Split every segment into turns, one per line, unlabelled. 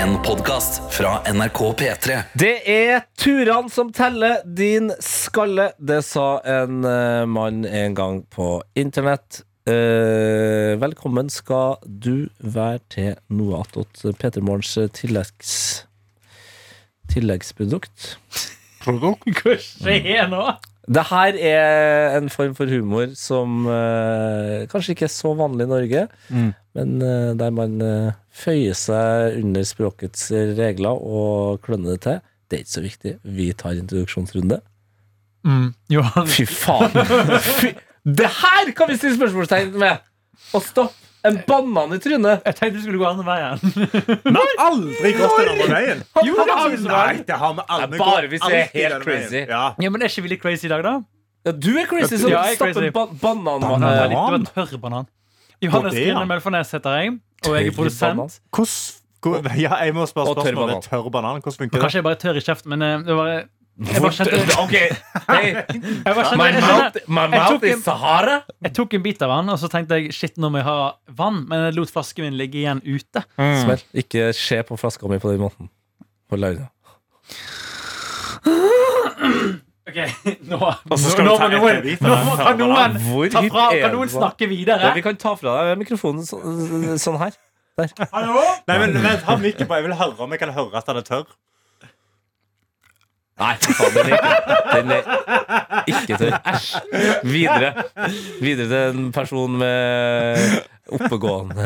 En podcast fra NRK P3
Det er turene som teller, din skalle. Det sa en eh, mann en gang på internett. Eh, velkommen skal du være til eh, noe attåt Petermorgens tilleggs... tilleggsprodukt.
Hva skjer nå?
Det her er en form for humor som eh, kanskje ikke er så vanlig i Norge,
Mm.
men eh, der man eh, føyer seg under språkets regler og klønner det til. Det er ikke så viktig. Vi tar introduksjonsrunde.
Mm, Johan,
Fy faen! Fy. Det her kan vi stille spørsmålstegn med! Og stopp! En banan i trynet!
jeg tenkte du skulle gå andre veien.
Aldri gått den andre veien.
Jo, det har vi så
Nei,
vel.
det har vi aldri
Det er bare
gått.
hvis vi er
Alltid
helt
den veien.
crazy.
Ja.
Ja, men Er ikke vi litt crazy i dag, da?
Ja, du er crazy som
Ja, jeg er
stapper
crazy.
ba banan...
Det var,
Banan.
eh,
litt, det var en tørr banan. Johannes
Både, ja.
Grine Melfarnes heter jeg, og jeg er
Tørr banan.
produsent.
Hvordan- hvor- Ja, jeg må spørre
Og tørr
spørsmålet.
banan.
Tørr banan, hvordan funker det?
Kanskje jeg bare er tørr i kjeften, men eh, det var jeg bare kjente
Ok, hey,
jeg, bare
my
kjente, jeg,
mouth,
kjente,
my
Jeg tok
mouth
en-
is Sahara!
jeg tok en bit av den, og så tenkte jeg shit, nå må jeg ha vann. Men jeg lot flasken min ligge igjen ute.
Mm. Smell. Ikke se på flaska mi på den måten. Hold deg unna.
Ok, Nå,
så
nå,
skal
nå,
du
må
ta etter
noen,
biten
nå
av
må
den
kan
tørre
noen
bananen.
Hvor
ta fra,
hit er
kan noen
det?
snakke
Ja,
videre.
vi kan ta fra deg mikrofonen så, sånn her. Der.
Nei, men vent, ha mikken på. Jeg vil høre om jeg kan høre at den er tørr.
Nei, for faen, den er ikke, den er ikke tørr. Æsj. Videre. Videre til en person med oppegående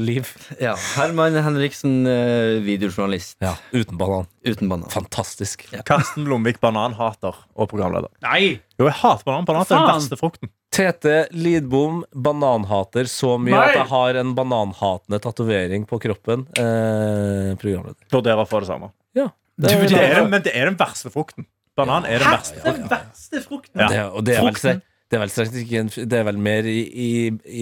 liv.
Ja, Herman Henriksen, eh, videojournalist
Ja, uten banan.
uten banan.
Fantastisk.
Karsten Blomvik, bananhater og programleder.
Nei!
Jo, jeg hater banan. Banan er den
Faen.
beste frukten.
Tete Lidbom, bananhater så mye
Nei!
at jeg har en bananhatende tatovering på kroppen. Eh, programleder.
Vurderer å få det samme.
Det er,
Det er den, men det er den verste frukten. Banan er den verste.
Den verste frukten.
Ja.
det, og det er vel,
Frukten.
det er vel strengt ikke en, Det er vel mer i, i,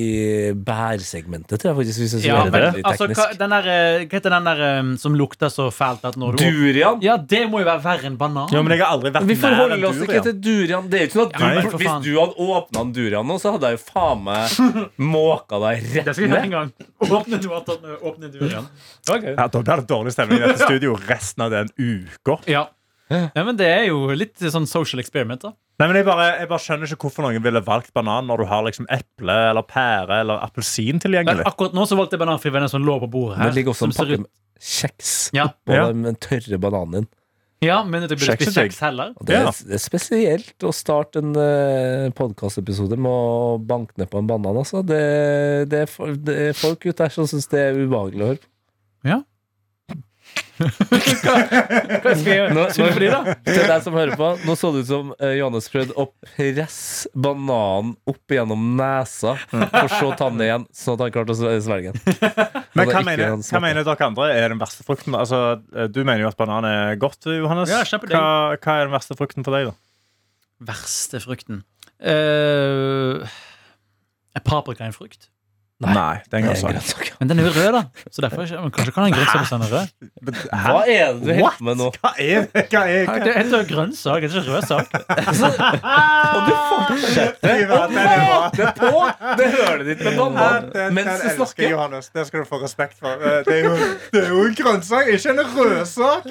i bærsegmentet, tror jeg faktisk. Hvis jeg skal
Ja,
være
men
veldig
altså, hva,
teknisk.
den der, eh, hva heter den der eh, som lukter så fælt at når du
Durian?
Ja, det må jo være verre enn banan.
Ja, men jeg har aldri vært
Vi
nær en
forholder oss
dur
ikke
igjen.
til durian. Det er jo ikke sånn at du,
Nei,
for
Hvis
faen.
du hadde åpna en durian nå, så hadde jeg jo faen meg måka deg
Det
rett
skal vi gjøre
ned.
en gang. Åpne duaten, åpne duaten.
Ja, Da blir det dårlig stemning i dette studio resten av den uka.
Ja. ja, men det er jo litt sånn social experiment, da.
Nei, men jeg bare, jeg bare skjønner ikke hvorfor noen ville valgt banan når du har liksom eple eller pære eller apelsin
Men
tilgjengelig.
akkurat nå så valgte jeg bananfri venner som lå på bordet
Det
her.
ligger også
som
en
ser
pakke
ut-
med kjeks
Ja.
på
Ja.
den tørre bananen din.
ja, men jeg burde
Kjeks
spise
er digg.
kjeks heller.
Og det, er,
Ja.
det er spesielt å starte en uh, podkastepisode med å banke ned på en banan. Altså. Det, det, er, for- det er folk ute der som syns det er ubehagelig å høre på.
Hva skal jeg gjøre?
Nå-
Synd for de, da.
Til deg som hører på, nå så det ut som eh, Johannes prøvde å presse bananen opp gjennom nesa, for så å ta den igjen, sånn at han klarte å svel- svelge den.
Men
Og det er
hva
ikke
mener,
hans
hva
smak.
mener dere andre er den verste frukten? Altså, du mener jo at banan er godt, Johannes.
Ja, kjempedigg.
hva, hva er den verste frukten for deg, da?
Verste frukten Eh, Er paprika en frukt?
Nei.
det er en
Det er en
grønnsak.
grønnsak.
Men den er jo rød, da. Så derfor er ikke, men kanskje kan den grønnsak hvis den er rød?
Hæ?
Hva er det du holder
What?
på med nå?
Hva er det? Hva er
Det er jo grønnsak, det er ikke rødsak.
Og du fortsetter
det?
det på det hølet ditt med banan mens du snakker.
Johannes. Det skal du få respekt for. Eh, Det er jo, en grønnsak, ikke en rødsak.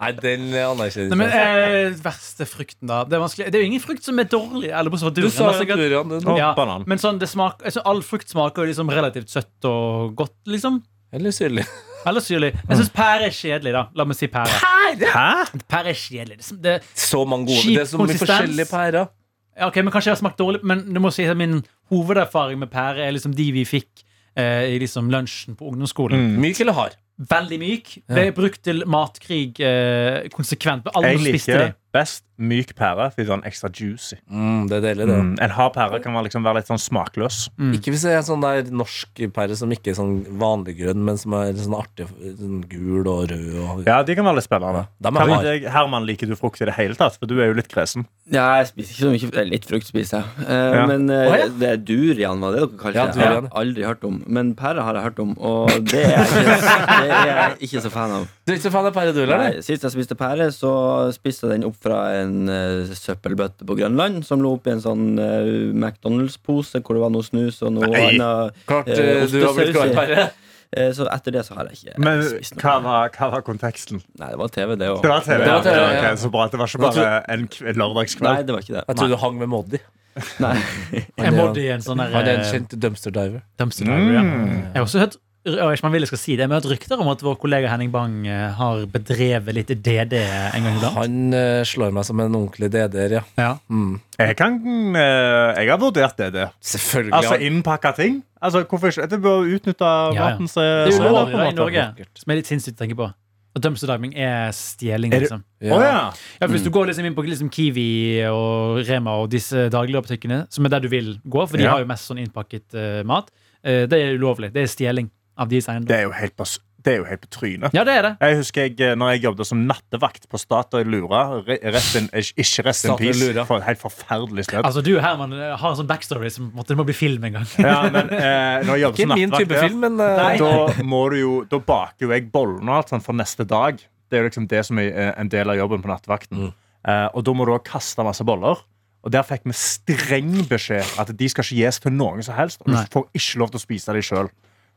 Nei, den anerkjenner
Nei, men
jeg ikke.
eh, Verste frukten, da. Det er, vanskelig. det er jo ingen frukt som er dårlig. Eller bortsett fra
Du
duren.
sa
da,
jo
sikkert.
durian. du nå.
Og
Ja,
banan.
Men sånn, det smak, altså, all frukt smaker jo liksom relativt søtt og godt, liksom.
Eller syrlig.
Eller syrlig.
Mm.
Jeg syns pære er kjedelig, da. La meg si pære.
Hæ?
Pære er kjedelig. Det, det,
Så mange gode
Skip
Det er så mye
konsistens.
forskjellige pærer.
ja, ok, men Kanskje jeg har smakt dårlig, men du må si at min hovederfaring med pære er liksom de vi fikk eh, i liksom lunsjen på ungdomsskolen.
Myk eller hard?
Veldig myk. Ble brukt til matkrig eh, konsekvent. men Alle
Jeg
spiste
liker
de.
best myk pære, fordi den er ekstra juicy.
Mm, det er deilig, det.
Mm. En hard pære kan være, liksom, være litt sånn smakløs.
Ikke hvis det er en sånn der norsk pære som ikke er sånn vanlig grønn, men som er sånn artig sånn gul og rød og
Ja, de kan være litt spennende.
De er
Hva med
hard.
deg, Herman, liker du frukt i det hele tatt? For du er jo litt kresen.
Ja, jeg spiser ikke så mye eller Litt frukt spiser jeg. Eh,
Ja.
Men eh,
Å, ja.
det er durian, var det dere kalte
Ja,
det? Jeg har
durian.
aldri hørt om. Men pære har jeg hørt om, og det er jeg ikke, det er jeg ikke så fan av.
Du er ikke så fan av pære, du, eller?
Nei, sist jeg spiste pære, så spiste jeg den opp fra en eh, søppelbøtte på Grønland, som lå oppi en sånn eh, McDonald's-pose hvor det var noe snus og noe
Nei.
annet.
Klart
Eh,
eh, du har blitt
ostesaus
glad
i.
i pære.
Eh, Så etter det så har jeg ikke eh,
Men
spist noe.
hva var, hva var konteksten?
Nei, det var TV, det
Det
òg.
var TV.
Det var TV,
ja,
ja.
ok, Så bra. Det var ikke
Hva
bare en k- en
Nei,
lørdagskveld.
det var ikke det.
Jeg tror du hang med Moddi.
Nei.
Jeg bodde i en sånn der,
Han er en
eh,
kjent dumpster diver.
dumpster diver, ja.
Mm.
Jeg har også hørt og jeg vet ikke om jeg vil jeg skal si det, men jeg har hørt rykter om at vår kollega Henning Bang eh, har bedrevet litt DD en gang iblant.
Han eh, slår meg som en ordentlig DD-er, ja.
Ja.
Mm.
Jeg, kan, eh, jeg har vurdert det. det.
Selvfølgelig.
Altså
han-
innpakka ting. Altså, hvorfor ikke? Det bør utnytte
ja.
matens eh,
Det er jo
svar,
lov
på
i dag i
en måte.
Norge, som er litt sinnssykt å tenke på. At dumpster diving er stjeling,
Er det- Mm.
liksom.
Å ja.
Ja, for hvis du går liksom inn på liksom Kiwi og Rema og disse dagligvarebutikkene, som er der du vil gå, for de
Ja.
har jo mest sånn innpakket eh, mat, eh, det er ulovlig. Det er stjeling av deres eiendom.
Det er jo helt på, s- det er jo helt på trynet.
Ja, det er det.
Jeg husker jeg, eh, når jeg jobbet som nattevakt på Statoil Lura. re- Rest in, ikke ikke Rest in
Statoil Lura.
Peace. For et helt forferdelig sted.
Altså, du Herman har en sånn backstory som måtte, det må bli film en gang.
Ja, men eh, når jeg jobbet
Ikke
som
min
nattvakt
type
der,
film, men eh,
Da, må du jo, da baker jo jeg bollene og alt sånt for neste dag. Det er jo liksom det som er eh, en del av jobben på nattevakten.
Mm.
Eh, og da må du også kaste masse boller. Og der fikk vi streng beskjed at de skal ikke gis til noen som helst. Og
Nei.
du får ikke lov til å spise dem sjøl.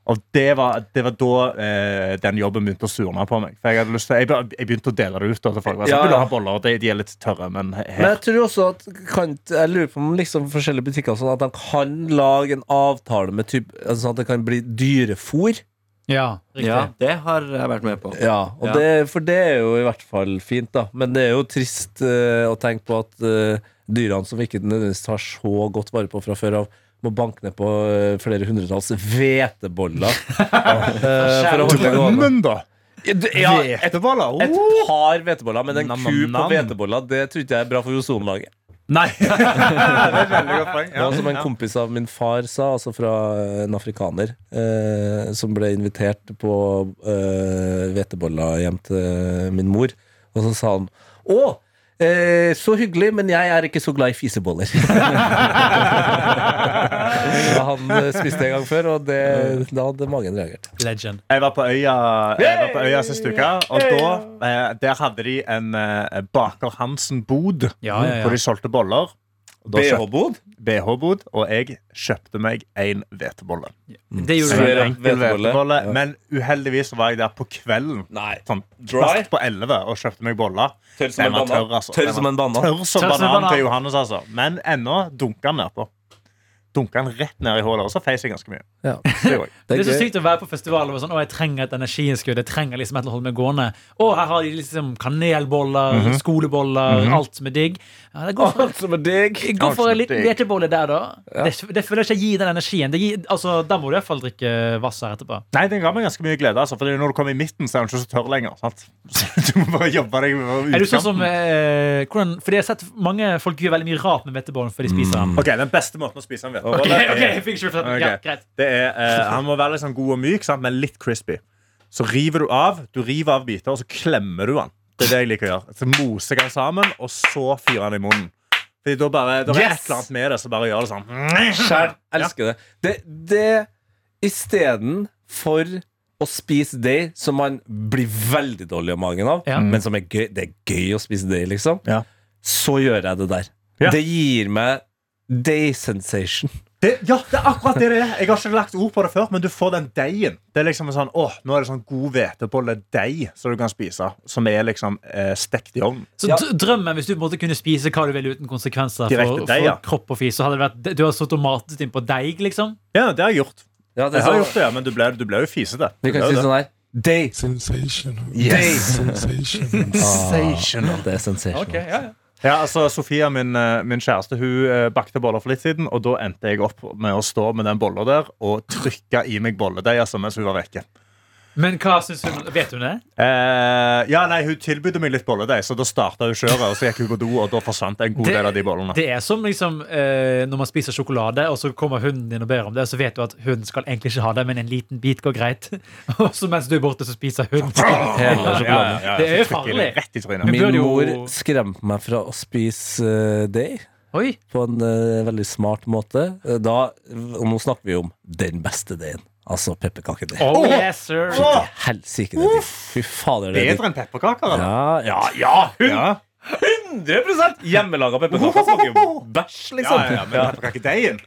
Og det var, det var da eh, den jobben begynte å surne på meg. For jeg, hadde lyst til, jeg, be- jeg begynte å dele det ut. da, til folk. Jeg
Ja,
sa,
ja.
vil du ha boller? De, de er litt tørre, men
Men
her
jeg tror også at kan, Jeg lurer på om liksom forskjellige butikker og sånn at de kan lage en avtale med typ, altså sånn at det kan bli dyrefôr.
Ja, riktig.
Ja, det har jeg vært med på.
Ja, og
Ja.
Det, for det er jo i hvert fall fint, da. Men det er jo trist eh, å tenke på at eh, dyrene som vi ikke nødvendigvis tar så godt vare på fra før av, må banke ned på eh, flere hundretalls hveteboller. eh, for å holde det gående.
Drømmen, da!
Ja, et,
Hveteboller!
et
oh!
par hveteboller, men en
Nam, nam,
ku på
nam.
hveteboller, det tror ikke jeg er bra for ozonlaget.
Nei! det er et veldig godt poeng.
Det var som en kompis av min far sa, altså fra en afrikaner, eh, som ble invitert på eh, hveteboller hjem til min mor. Og så sa han Å, eh, så hyggelig, men jeg er ikke så glad i fiseboller. Ja, han eh, spiste en gang før, og det, da hadde magen reagert.
Legend.
Jeg var på øya, eh, jeg var på øya siste uke, og da, eh, der hadde de en eh, Baker Hansen-bod
Ja, ja, ja.
hvor de solgte boller. Og da kjøp-
BH-bod?
BH-bod, og jeg kjøpte meg en hvetebolle. Mm.
Det gjorde
Ser
du.
jeg.
En enkel
Hvetebolle.
hvetebolle,
Ja.
Men uheldigvis så var jeg der på kvelden.
Nei.
Sånn
Dry?
kvart på elleve og kjøpte meg boller.
Tørr som en
Den var
banan.
tørr, altså.
Tørr
Den
som en banan.
Tørr som
Tørr som en
banan
banan.
til Johannes, altså. Men ennå dunka han nedpå. Dunka han rett ned i hullet, og så feis jeg ganske mye.
Ja.
Det gjorde jeg.
Det
Det er så
er gøy.
sykt å være på festival og være sånn, å, jeg trenger et energiinnskudd. Jeg trenger liksom et eller annet å holde meg gående. Å, her har de liksom kanelboller, skoleboller, alt som er digg. Ja, det går for,
Alt som er digg.
gå for en liten
digg.
hvetebolle der, da. Det, det føler jeg ikke gir den energien. Det gir, altså, da må du i hvert fall drikke Hvasser etterpå.
Nei, den ga meg ganske mye glede. Altså, fordi når du kommer i midten, så er den ikke så tørr lenger. Sant? Så du må bare jobbe deg med
Er du sånn som eh, hvordan, Fordi jeg har sett mange folk gjør veldig mye rart med hvetebollen før de spiser den.
Ok, Den beste måten å spise en
eh,
hvetebolle
Ok, ok,
er-
jeg fikk ikke forstått. Ja,
Mm. Ok.
greit.
Det er, eh, Han må være litt sånn god og myk, sant? men litt crispy. Så river du av du river av biter, og så klemmer du den. Det er det jeg liker å gjøre. Så moser jeg den sammen, og så fyrer den i munnen. Fordi da bare, da er det
Yes!
et eller annet med det som bare gjør det sånn.
Skjær. Elsker det. Det, det istedenfor å spise deig, som man blir veldig dårlig i magen av,
Ja.
men som er gøy, det er gøy å spise deig, liksom,
Mm. Ja.
så gjør jeg det der.
Ja.
Det gir meg day sensation.
Det, ja, det er akkurat det det er. Jeg har ikke lagt ord på det før, men du får den deigen. Det er liksom en sånn, åh, Nå er det sånn god hvetebolle-deig som du kan spise, som er liksom eh, stekt i ovnen.
Så
Ja.
d- drømmen, hvis du på en måte kunne spise hva du ville uten konsekvenser
Direkte
for,
deig,
for
ja.
kropp og fis, så hadde det vært Du hadde stått og matet inn på deig, liksom?
Ja, det har jeg gjort.
Ja, det
Jeg
er
har
sånn-
gjort det, ja, men du ble, du ble jo fisete.
Vi kan si sånn her Day.
Sensational.
Yes.
Sensational.
Sensational. det er sensational.
Ja, altså, Sofia, min, eh, min kjæreste, hun eh, bakte boller for litt siden, og da endte jeg opp med å stå med den bolla der og trykke i meg bolledeig altså, mens hun var vekke.
Men hva syns hun? Vet hun det?
Eh, ja, nei, hun tilbød meg litt bolledeig, så da starta hun kjøret, og så gikk hun på do, og da forsvant en god
Det-
del av de bollene.
Det er som liksom eh, når man spiser sjokolade, og så kommer hunden din og ber om det, så vet du at hunden skal egentlig ikke ha det, men en liten bit går greit. og så mens du er borte, så spiser hunden.
Hele sjokoladen.
Det er jo
så trykker jeg
farlig.
det Rett i trynet.
Men- bør
Min
det jo-
mor skremte meg fra å spise uh, deig
Oi!
på en eh, veldig smart måte. Eh, Da, og nå snakker vi om den beste deigen. Altså pepperkakedeig.
Oh, yes, sir!
Åh,
Helsike, det er digg. Fy fader, det er digg.
bedre enn pepperkaker, eller?
Ja, ja, ja,
Ja.
100 hjemmelaga pepperkaker smaker jo bæsj,
Ja,
liksom.
ja, ja, men pepperkakedeigen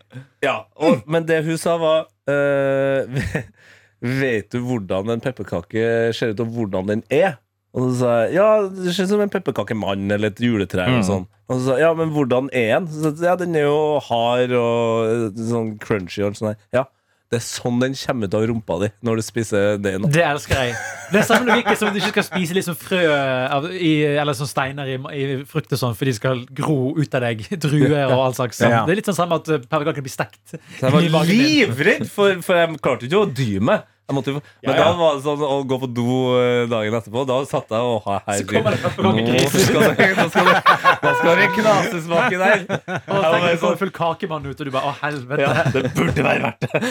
Ja, og, Men det hun sa, var eh, Vet du hvordan en pepperkake ser ut, og hvordan den er? Og så sa jeg ja, det ser ut som en pepperkakemann eller et juletre. eller
Mm.
sånn. Og så sa jeg ja, men hvordan er den? Så sa jeg, ja, den er jo hard og sånn crunchy. og sånn der. Ja, det er sånn den kommer ut av rumpa di når du spiser det nå.
Det elsker jeg. Det er samme logikk som at du ikke skal spise liksom frø av, i, eller sånn steiner i, i frukt og sånn, for de skal gro ut av deg. Druer og all slags. sånn.
Ja.
Det er litt sånn samme at eh, pepperkaken blir stekt.
Så jeg
i
var
magen din.
livredd, for, for jeg klarte jo ikke å dy meg. Jeg måtte, jo- men
Ja, ja.
da var det sånn å gå på do eh, dagen etterpå. Da satt jeg og ha
Så kommer det
Nå
pepperkakegris.
skal det, nå skal det, nå skal det knases baki der. Jeg
Og så
var
tenker
bare
du
sånn-
kommer full kakemann ut, og du bare å, helvete.
Ja, det burde være verdt det.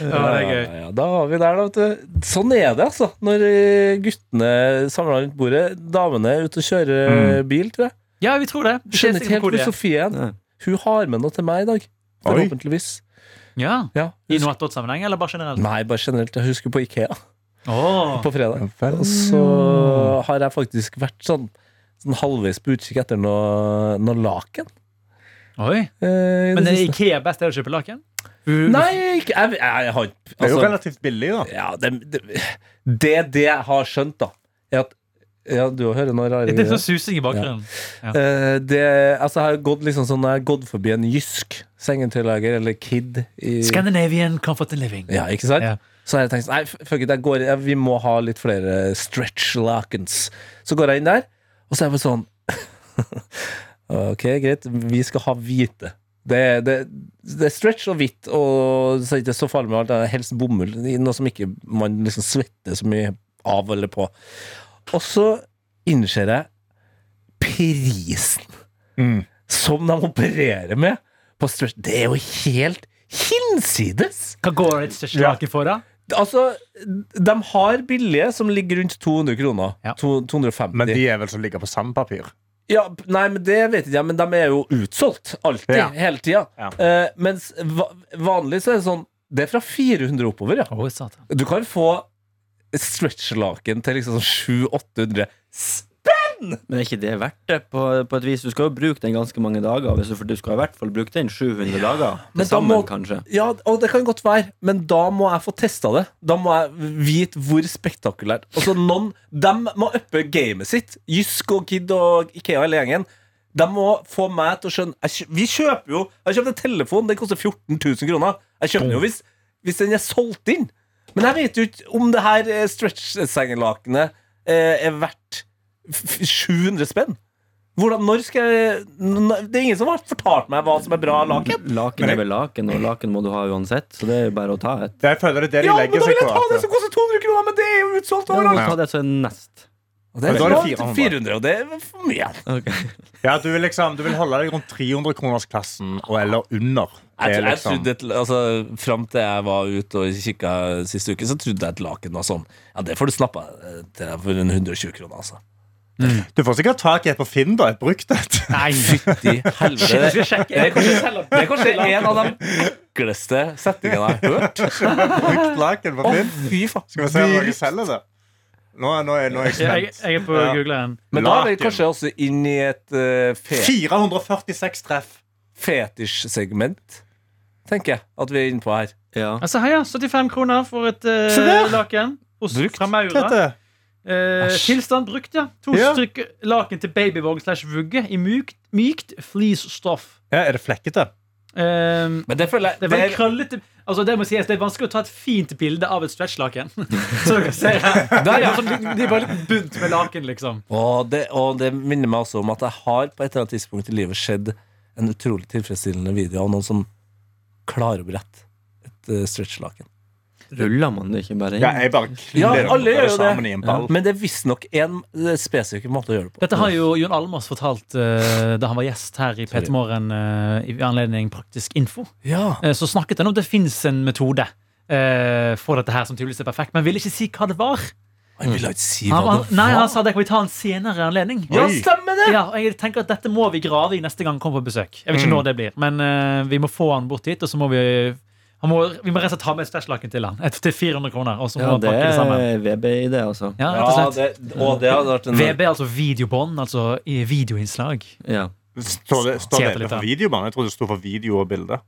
Ja, det er gøy.
Ja, ja, da var vi der, da. Vet du. Sånn er det, altså. Når eh, guttene samler rundt bordet. Damene er ute og kjører eh, bil, tror jeg.
Ja, vi tror det. Vi ser
Skjønner
sikkert
ikke helt hvor
hvor de er.
Sofie er.
Nei.
Hun har med noe til meg i dag.
Oi.
Forhåpentligvis.
Ja.
Ja.
I noe attåt-sammenheng, eller bare generelt?
Nei, bare generelt. Jeg husker på Ikea
Åh.
på fredag. Og så har jeg faktisk vært sånn, sånn halvveis på utkikk etter noe, noe laken.
Oi.
eh, i
Men er
siste.
Ikea best er det å kjøpe laken? Uh,
Nei, ikke- jeg, jeg, jeg har ikke
Det er jo
altså-
relativt billig, da.
Ja, det, det, det det jeg har skjønt, da, er at Ja, du hører noe rare
Det er
greier.
sånn susing i bakgrunnen.
Eh, det, altså, jeg har gått liksom sånn Jeg har gått forbi en Jysk sengetøylager eller Kid i
Scandinavian comfort and living.
Ja, ikke sant?
Ja.
Så har jeg tenkt sånn, Nei, f- fuck it, jeg går, jeg, vi må ha litt flere stretch lakens. Så går jeg inn der, og så er jeg bare sånn Ok, greit, vi skal ha hvite. Det, det, det er stretch og hvitt, og så er det ikke så farlig med alt. Det er helst bomull. i Noe som ikke man liksom svetter så mye av eller på. Og så innser jeg prisen
Mm.
som de opererer med på stretch. Det er jo helt hinsides!
Hva går et største
Ja.
lake for, da?
Altså, de har billige som ligger rundt 200 kroner.
Ja.
To, 250.
Men de er vel som ligger på sandpapir.
ja, p- nei, men det vet ikke jeg, men de er jo utsolgt. Alltid.
Ja.
Hele tida.
Ja.
Eh, mens va vanlig så er det sånn Det er fra 400 oppover, ja.
Å, satan.
Du kan få stretchlaken til liksom sånn 700-800.
Men er ikke det verdt det? På, på et vis, Du skal jo bruke den ganske mange dager. Hvis du, for du skal i hvert fall bruke den 700 dager.
Men da
Til sammen,
må-
kanskje.
Ja, og det kan godt være, men da må jeg få testa det. Da må jeg vite hvor spektakulært Altså, noen De må uppe gamet sitt. Jysk og Kid og Ikea, hele gjengen. De må få meg til å skjønne jeg, kjø- Vi kjøper jo Jeg kjøpte en telefon, den koster 14 000 kroner. Jeg kjøper den jo hvis, hvis den er solgt inn. Men jeg vet jo ikke om det her eh, stretch-sengelakenet eh, er verdt f- f- 700 spenn. Hvordan, når skal jeg n- Det er ingen som har fortalt meg hva som er bra laken.
Laken er vel laken, og laken må du ha uansett. Så det er jo bare å ta et.
Jeg føler det er det de
Ja, men
legger
da vil
seg
jeg
på.
ta det
at-
som koster 200 kroner, men det er jo utsolgt
Ja,
overalt.
ta det som er nest.
Og det er
Men da er det
klart
400.
400, og det er for mye.
Ja, du vil liksom Du vil holde deg rundt 300-kronersklassen og eller under.
Jeg,
er
trodde- jeg
liksom-
trodde et, altså, Fram til jeg var ute og kikka sist uke, så trodde jeg et laken var sånn. Ja, det får du snappa eh, til deg for en 120 kroner, altså.
Du får sikkert tak i et på Finn, da. Et brukt et.
Nei,
Fytti helvete.
jeg skal sjekke. Jeg kan ikke selge
Det er kanskje en av de ekleste setningene jeg har hørt.
Brukt laken på
Å,
Finn.
fy faen.
Skal vi se om noen selger det? Nå, er- nå, er, nå er jeg
Jeg,
spent.
jeg er på å
Ja.
google den.
Men da er vi
Laken.
kanskje også inn i et eh, fe
446 treff.
fetisj-segment, tenker jeg at vi er inne på her.
Ja.
Altså, her, ja. 75 kroner for et eh,
Se der.
laken. Ost
Brukt.
fra Maura.
Dette.
Eh,
Æsj.
tilstand brukt, ja. To
Ja.
stykk laken til babyvogn slash vugge i mykt, mykt fleecestoff.
Ja, er det flekkete?
Eh,
Men det føler
det
jeg
er veldig
det er-
krøllete Altså det må sies, det er vanskelig å ta et fint bilde av et stretchlaken. Så dere ser her.
Der, ja.
Sånn, de- de er bare litt bunt med laken, liksom.
Og det, og det minner meg også om at jeg har på et eller annet tidspunkt i livet sett en utrolig tilfredsstillende video av noen som klarer å brette et eh, stretchlaken.
Ruller man det ikke bare inn?
Ja, jeg bare
Ja,
klirrer
alle gjør jo
sammen
det.
i en ball.
Men det er visstnok én spesifikk måte å gjøre det på.
Dette har jo Jon Almaas fortalt eh, da han var gjest her i P3 Morgen eh, i anledning Praktisk info.
Ja.
Eh, så snakket han om det fins en metode eh, for dette her som tydeligvis er perfekt, men ville ikke si hva det var.
Han ville ikke si hva
Han, var,
det
nei, han
var.
sa det kan vi ta en senere anledning.
Ja,
Oi.
stemmer det!
Ja, og jeg tenker at Dette må vi grave i neste gang han kommer på besøk. Jeg vet
Mm.
ikke når det blir Men eh, vi må få han bort hit, og så må vi han må, Vi må rett og slett ta med et stæsjlaken til han. Et til 400 kroner. Og så må
Ja,
han
det
pakke det sammen.
er VB-idé, altså.
Ja, rett og slett.
det, og det hadde vært en
VB, altså videobånd. Altså i videoinnslag.
Ja.
Står det, står
Tjente
det
litt,
for
da.
videobanen? Jeg trodde det sto for video og bilde.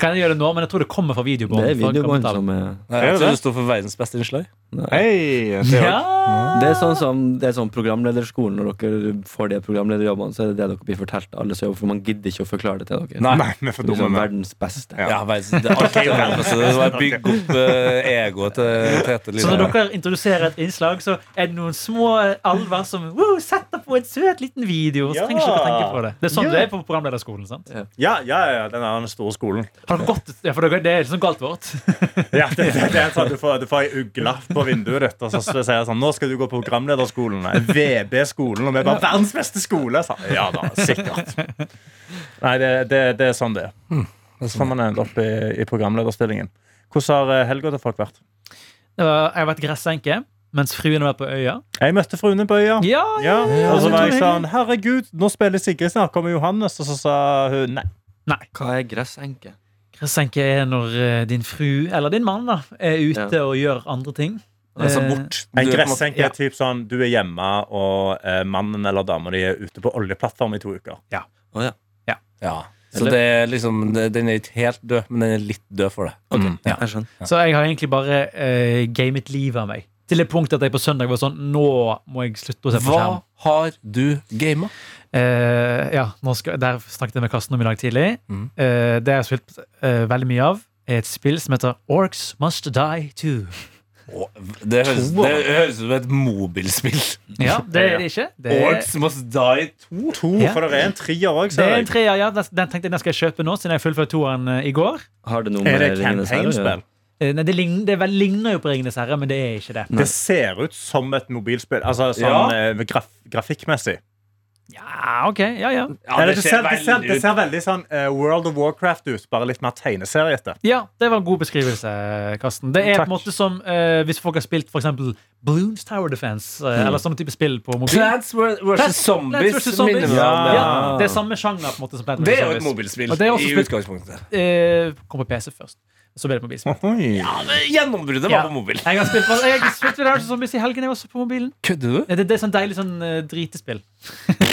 Kan jeg gjøre det nå, men jeg tror det kommer fra videobånd.
Det er
fra
videobånd
kapitalen.
som er
Nei,
Er
Jeg
det
tror
det?
det står for verdens beste innslag.
nei.
Hei! det er jo-
Ja!
Det er sånn som det er sånn programlederskolen. Når dere får de programlederjobbene, så er det det dere blir fortalt. Alle som jobber, for Man gidder ikke å forklare det til dere.
Nei.
Nei, vi er for
Det er
dumme.
liksom
vi.
verdens beste.
Ja.
Ja, verdens, det er alltid verdens beste. Det er bare å bygge opp eh, egoet til Tete
Så når
Lidbom.
dere introduserer et innslag, så er det noen små alver som wow, setter på en søt liten video. Så
Ja.
trenger ikke dere tenke på Det Det er sånn
Ja.
det er på programlederskolen. sant?
Ja, ja, ja, den er den store skolen.
Har dere gått, ja, for dere, Det er liksom galt vårt.
Ja, det, det, det er sånn, Du får, du får ei ugle på vinduet ditt, og så sier jeg sånn Nå skal du gå på programlederskolen. eh, VB-skolen. Og vi er bare verdens beste skole! Så, ja da, sikkert. Nei, det, det, det er sånn det er. Så får man ende opp i, i programlederstillingen. Hvordan har eh, helga til folk vært?
Det var- Jeg har vært gressenke mens fruen har vært på øya.
Jeg møtte fruene på øya.
Ja,
Ja, og så var jeg
Ja.
sånn Herregud, nå spiller Sigrid snart. Kommer Johannes? Og så sa hun nei.
Hva er gressenke?
Gressenke er når eh, din fru, eller din mann, da, er ute og gjør andre ting.
Altså
Eh,
bort.
En
Du er på en måte-
gressenke
ja.
er typ sånn Du er hjemme, og eh, mannen eller dama di er ute på oljeplattform i to uker.
Å, ja.
Ja. Så det er liksom, det, den er ikke helt død, men den er litt død for det.
Mm.
Ja.
Jeg skjønner.
Så jeg har egentlig bare eh, gamet livet av meg. Til det punkt at jeg på søndag var sånn Nå må jeg slutte å se på
Hva
skjerm.
har du gama?
Eh, ja, nå skal, Der snakket jeg med Karsten om i dag tidlig.
Mhm.
Eh, det jeg har spilt eh, veldig mye av, er et spill som heter Orcs Must Die Too.
Å, Det høres, det høres ut som et mobilspill.
Ja, det er det ikke. Det er,
Orcs must die 2.
To,
Ja.
Oh. for det er en trier òg,
det
ser
er en
jeg.
treer, ja. Den, den tenkte jeg den skal jeg kjøpe nå, siden jeg fullførte toeren eh, i går.
Har det noe
Er
med
det
Ringenes herre å gjøre?
campaignspill?
Eh, nei, det, ligner, det vel ligner jo på Ringenes herre, men det er ikke det.
Det ser ut som et mobilspill. Altså
Ja.
sånn eh, graf grafikkmessig.
Ja, ok, ja, ja.
Ja,
Eller, det, ser, det, ser, det ser veldig sånn eh, World of Warcraft ut, bare litt mer tegneseriete.
Ja, Det var en god beskrivelse, Karsten. Det er på
Takk.
en måte som eh, hvis folk har spilt for eksempel Bloons Tower Defense, eh, eller sånne type spill på mobil.
Plants vs.
Plants- Plants
Zombies
vs. Zombies.
minner meg om
Ja.
det.
det er samme sjanger. på en måte som Plants
Det
vs.
er jo et
Zombies.
mobilspill
Og det er også
i
spilt-
utgangspunktet.
eh, kom på PC først. Så ble det på mobilspill.
Ja.
Gjennombruddet
Ja.
var på mobil.
Jeg har spilt, på- jeg har spilt Hards Zombies i helgen, jeg også på mobilen.
Kødder du?
Eh, Det, det er sånn deilig sånn eh, dritespill.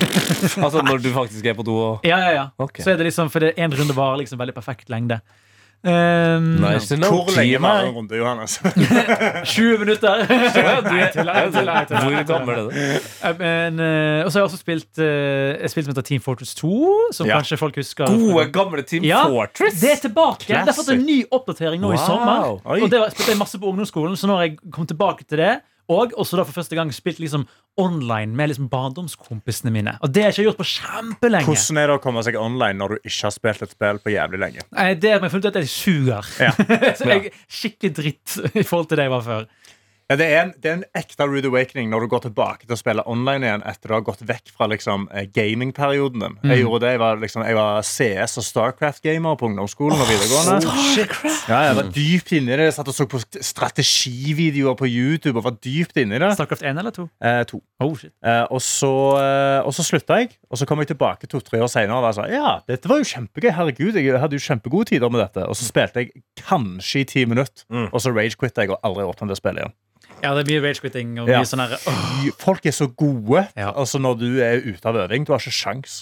Altså når du faktisk er på do og
Ja, ja, ja.
Ok.
Så er det liksom, for det én runde varer liksom veldig perfekt lengde. Um,
Nice to know.
Hvor lenge
Klima-
var en runde, Johannes?
20 minutter! Nei, jeg tuller, jeg tuller, jeg tuller.
Hvor gammel er det?
Eh, Men, eh, og så har jeg også spilt eh, et spill som heter Team Fortress 2, som
Ja.
kanskje folk husker.
Gode, gamle Team
Ja,
Fortress.
Det er tilbake! Det har fått en ny oppdatering nå
Wow.
i sommer.
Oi.
Og det var- spilte jeg masse på ungdomsskolen, så nå har jeg kommet tilbake til det. Og også da for første gang spilt liksom online med liksom barndomskompisene mine. Og det har jeg ikke gjort på kjempelenge.
Hvordan er det å komme seg online når du ikke har spilt et spill på jævlig lenge?
Nei, Det har jeg funnet ut at jeg suger.
Ja.
så jeg er skikkelig dritt i forhold til det jeg var før.
Ja, det, er en, det er en ekte rude awakening når du går tilbake til å spille online igjen etter du har gått vekk fra liksom, eh, gamingperioden din. Jeg gjorde det, jeg var, liksom, jeg var CS- og Starcraft-gamer på ungdomsskolen og videregående. Ja, jeg var dypt inne i det. Jeg satt og så på strategivideoer på YouTube og var dypt inne i det.
Starcraft 1 eller 2?
Eh, to.
Oh, shit.
Eh, og så, eh, og så slutta jeg, og så kom jeg tilbake to-tre år senere og var sånn Ja, dette var jo kjempegøy. Herregud, jeg hadde jo kjempegode tider med dette. Og så spilte jeg kanskje i ti minutter, og så rage-quitta jeg og aldri åpna det spillet igjen.
Ja, det er mye rage-quitting og
Ja.
mye sånn herre
Fy, Folk er så gode
Ja.
altså når du er ute av øving. Du har ikke sjans.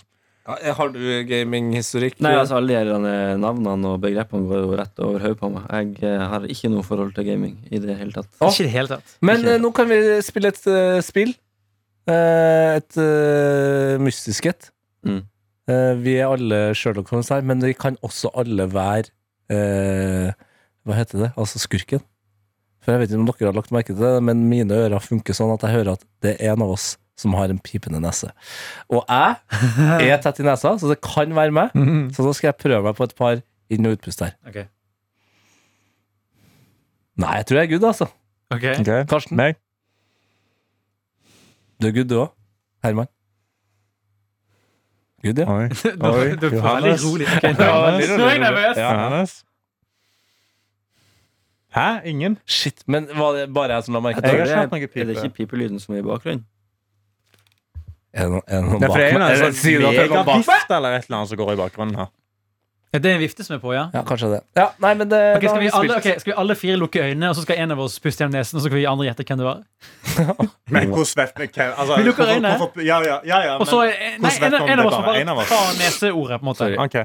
Ja, Har du gaminghistorikk?
Nei, altså Alle de her navnene og begrepene går jo rett over hodet på meg. Jeg eh, har ikke noe forhold til gaming i det hele tatt.
Ikke i det hele tatt.
Men eh, nå kan vi spille et eh, spill. Eh, et uh, mystisk et.
Mm.
Eh, vi er alle Sherlock Holmes her, men vi kan også alle være eh, Hva heter det? Altså skurken. For jeg vet ikke om dere har lagt merke til det, men mine ører funker sånn at jeg hører at det er en av oss som har en pipende nese. Og jeg er tett i nesa, så det kan være meg. Så nå skal jeg prøve meg på et par inn- og utpust her.
Ok.
Nei, jeg tror jeg er good, altså.
Ok.
Karsten?
Meg?
Du er good, du òg. Herman? Good, ja.
Oi.
Nå- Du
Oi,
var veldig
Johannes.
rolig. Ok, nå-
Johannes.
nå er jeg nervøs.
Ja.
Johannes? Hæ? Ingen?
Shit, men var det bare jeg som la merke
Jeg
til det?
tror
har ikke hatt noe
det er,
pipe.
er det ikke pipelyden som er i bakgrunnen?
Er det noen- er det noen
Det er
bak
for en
meg? Er
altså,
det- sier du at det er noen bak meg?
megavift eller et eller annet som går i bakgrunnen her.
Ja, Det er en vifte som er på, ja.
Ja, kanskje det. Ja, nei, men det
Ok,
da
skal,
har
vi alle,
spilt.
ok, skal vi alle fire lukke øynene, og så skal en av oss puste gjennom nesen? Og så skal vi andre gjette hvem det var
Men hvordan vet vi hvem altså,
Vi lukker
hvorfor-
øynene.
hvorfor- Ja, ja, ja, ja
Og så
men-
er- nei,
hvordan vet
en, en
vi om
av
det
oss må
bare er en av
bare
oss?
ta neseordet. på en måte
Sorry.
Ok.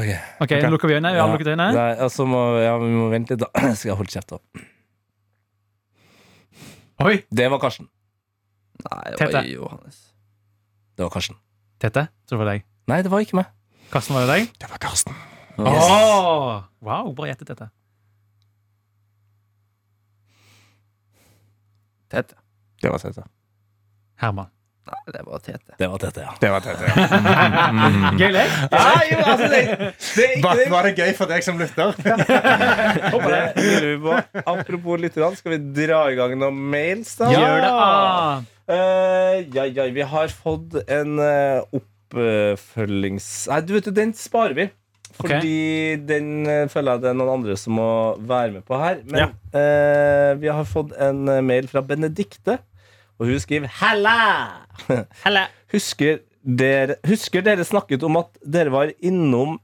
Ok.
Ok, Lukker vi øynene? Vi har
Ja.
lukket øynene.
Nei, altså må, ja, vi må vente litt, da. Skal jeg holde kjeft, da.
Oi,
Det var Karsten.
Nei,
Tete.
oi, Johannes.
Det var Karsten.
Tete. Tror det var deg.
Nei, det var ikke meg.
Karsten, var det deg?
Det var Karsten.
Yes.
Åh, wow, bra gjettet, Tete.
Tete.
Det var Tete.
Herman.
Nei, det var Tete.
Det var Tete, ja.
Det var Tete.
Gøy lek.
Ah, jo, altså, det, det er ikke
Var,
det.
var det gøy for deg som lytter?
det lurer vi på. Apropos litt, grann, skal vi dra i gang noen mails, da?
Gjør det. Ah.
Eh, ja, ja, vi har fått en eh, oppfølgings... Nei, du vet du, den sparer vi. Fordi den eh, føler jeg det er noen andre som må være med på her. Men eh, vi har fått en eh, mail fra Benedikte, og hun skriver Halla! Husker dere, husker dere snakket om at dere var innom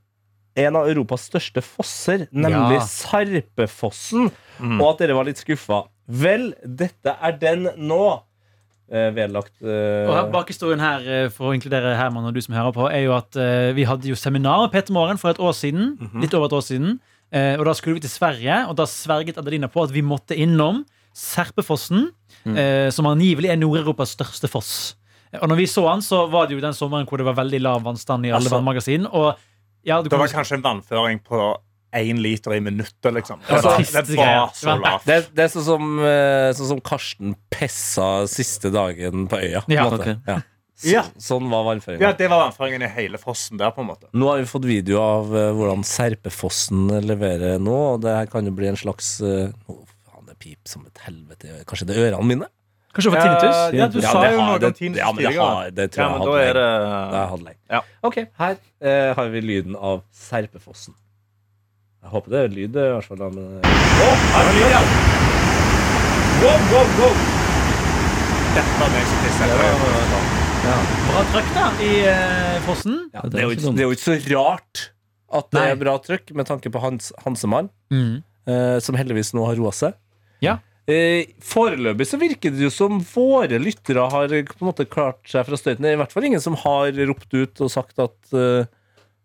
en av Europas største fosser, nemlig
Ja.
Sarpefossen,
Mm.
og at dere var litt skuffa. Vel, dette er den nå. Eh, vedlagt eh,
Og her- Bakhistorien her eh, for å inkludere Herman og du som hører på, er jo at eh, vi hadde jo seminar med Peter Morgen for et år siden. Litt over et år siden. Eh, og da skulle vi til Sverige, og da sverget Adelina på at vi måtte innom Serpefossen, eh, som angivelig er Nord-Europas største foss. Og når vi så han, så var det jo den sommeren hvor det var veldig lav vannstand i alle
Altså-
vannmagasin. Og ja, du
Det
kom-
var kanskje en vannføring på én liter i minuttet, liksom.
var
Det var,
triste
det var
greier.
så lavt.
det, er- det er sånn som, eh, sånn som Karsten pessa siste dagen på øya. på en
Ja,
måte.
ok.
Ja. Så,
Ja.
Sånn var vannføringa.
Ja, det var vannføringen i hele fossen der, på en måte.
Nå har vi fått video av eh, hvordan Serpefossen leverer nå, og det her kan jo bli en slags eh, Å, faen, det pip som et helvete. Kanskje det er ørene mine?
Kanskje over tinnitus?
Ja, du
Ja,
sa
det
jo
har-
noe om
det-
tinnitus
ja, men det
tidligere.
har- det tror
Ja,
jeg
men
hadde
da er det
Det har jeg hatt lenge.
Ja.
Ok, her eh, har vi lyden av Serpefossen. Jeg håper det er lyd, i hvert fall. da, Men... eh,
Dette var meg som tisset.
Bra trøkk da, i eh, fossen.
Ja,
det
det, er jo
var ikke
ikke,
dumt.
det er jo ikke så rart at det
Nei.
er bra trykk, med tanke på Hans, Hansemann,
Mm.
eh, som heldigvis nå har roa seg.
Ja.
Eh, foreløpig så virker det jo som våre lyttere har eh, på en måte klart seg fra støyten. Det er i hvert fall ingen som har ropt ut og sagt at, eh,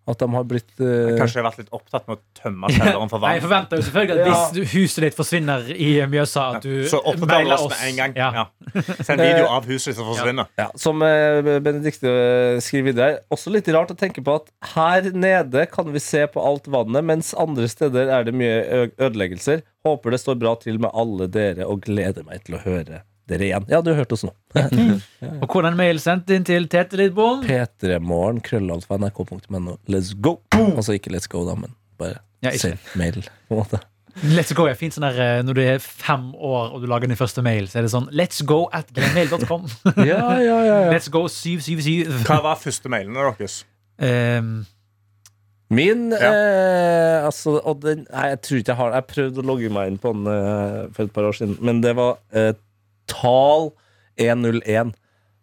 at de har blitt eh,
Kanskje jeg har vært litt opptatt med å tømme kjelleren for
Nei, jeg
vann.
forventer jo selvfølgelig at hvis du- huset ditt forsvinner i Mjøsa, at du
Så opptatt av
mailer
oss med en gang.
Ja.
Ja. Send video av huset som forsvinner.
Ja, som eh, Benedikte eh, skriver videre, også litt rart å tenke på at her nede kan vi se på alt vannet, mens andre steder er det mye ø- ødeleggelser. Håper det står bra til med alle dere, og gleder meg til å høre dere igjen. Ja, du hørte oss nå.
Og hvordan mail sendt inn til Tete Lidbom?
P3morgen, krøllallt på nrk.no. Let's go! Altså ikke let's go, da, men bare
Ja, ikke.
send mail, på en måte.
Let's go er fint sånn der eh, når du er fem år og du lager din første mail, så er det sånn Let's go at gmail.com.
Ja, ja, ja.
Let's go 777.
Hva var første mailene deres?
Ehm,
Min
Ja.
eh, altså, og den, Nei, jeg tror ikke jeg har det. Jeg prøvde å logge meg inn på den eh, for et par år siden, men det var eh, Tal 101.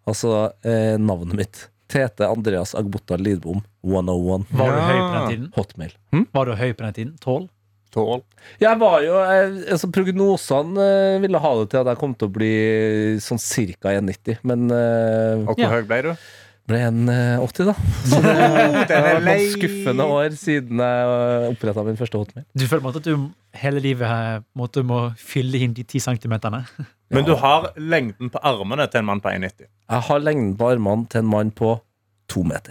Altså eh, navnet mitt. Tete Andreas Agbota Lidbom 101.
var du
Ja.
høy på den tiden?
Hotmail.
Var du høy på den tiden? 12?
Tål.
Jeg var jo, jeg, altså Prognosene eh, ville ha det til at jeg kom til å bli sånn ca. 1,90, men eh,
Og hvor
Ja.
høy ble du?
ble 1,80, da. Så det var noen skuffende år siden jeg oppretta min første hotmail.
Du føler på en måte at du hele livet eh, måtte må fylle inn de ti centimeterne?
Men du har lengden på armene til en mann på 1,90.
Jeg har lengden på armene til en mann på to meter.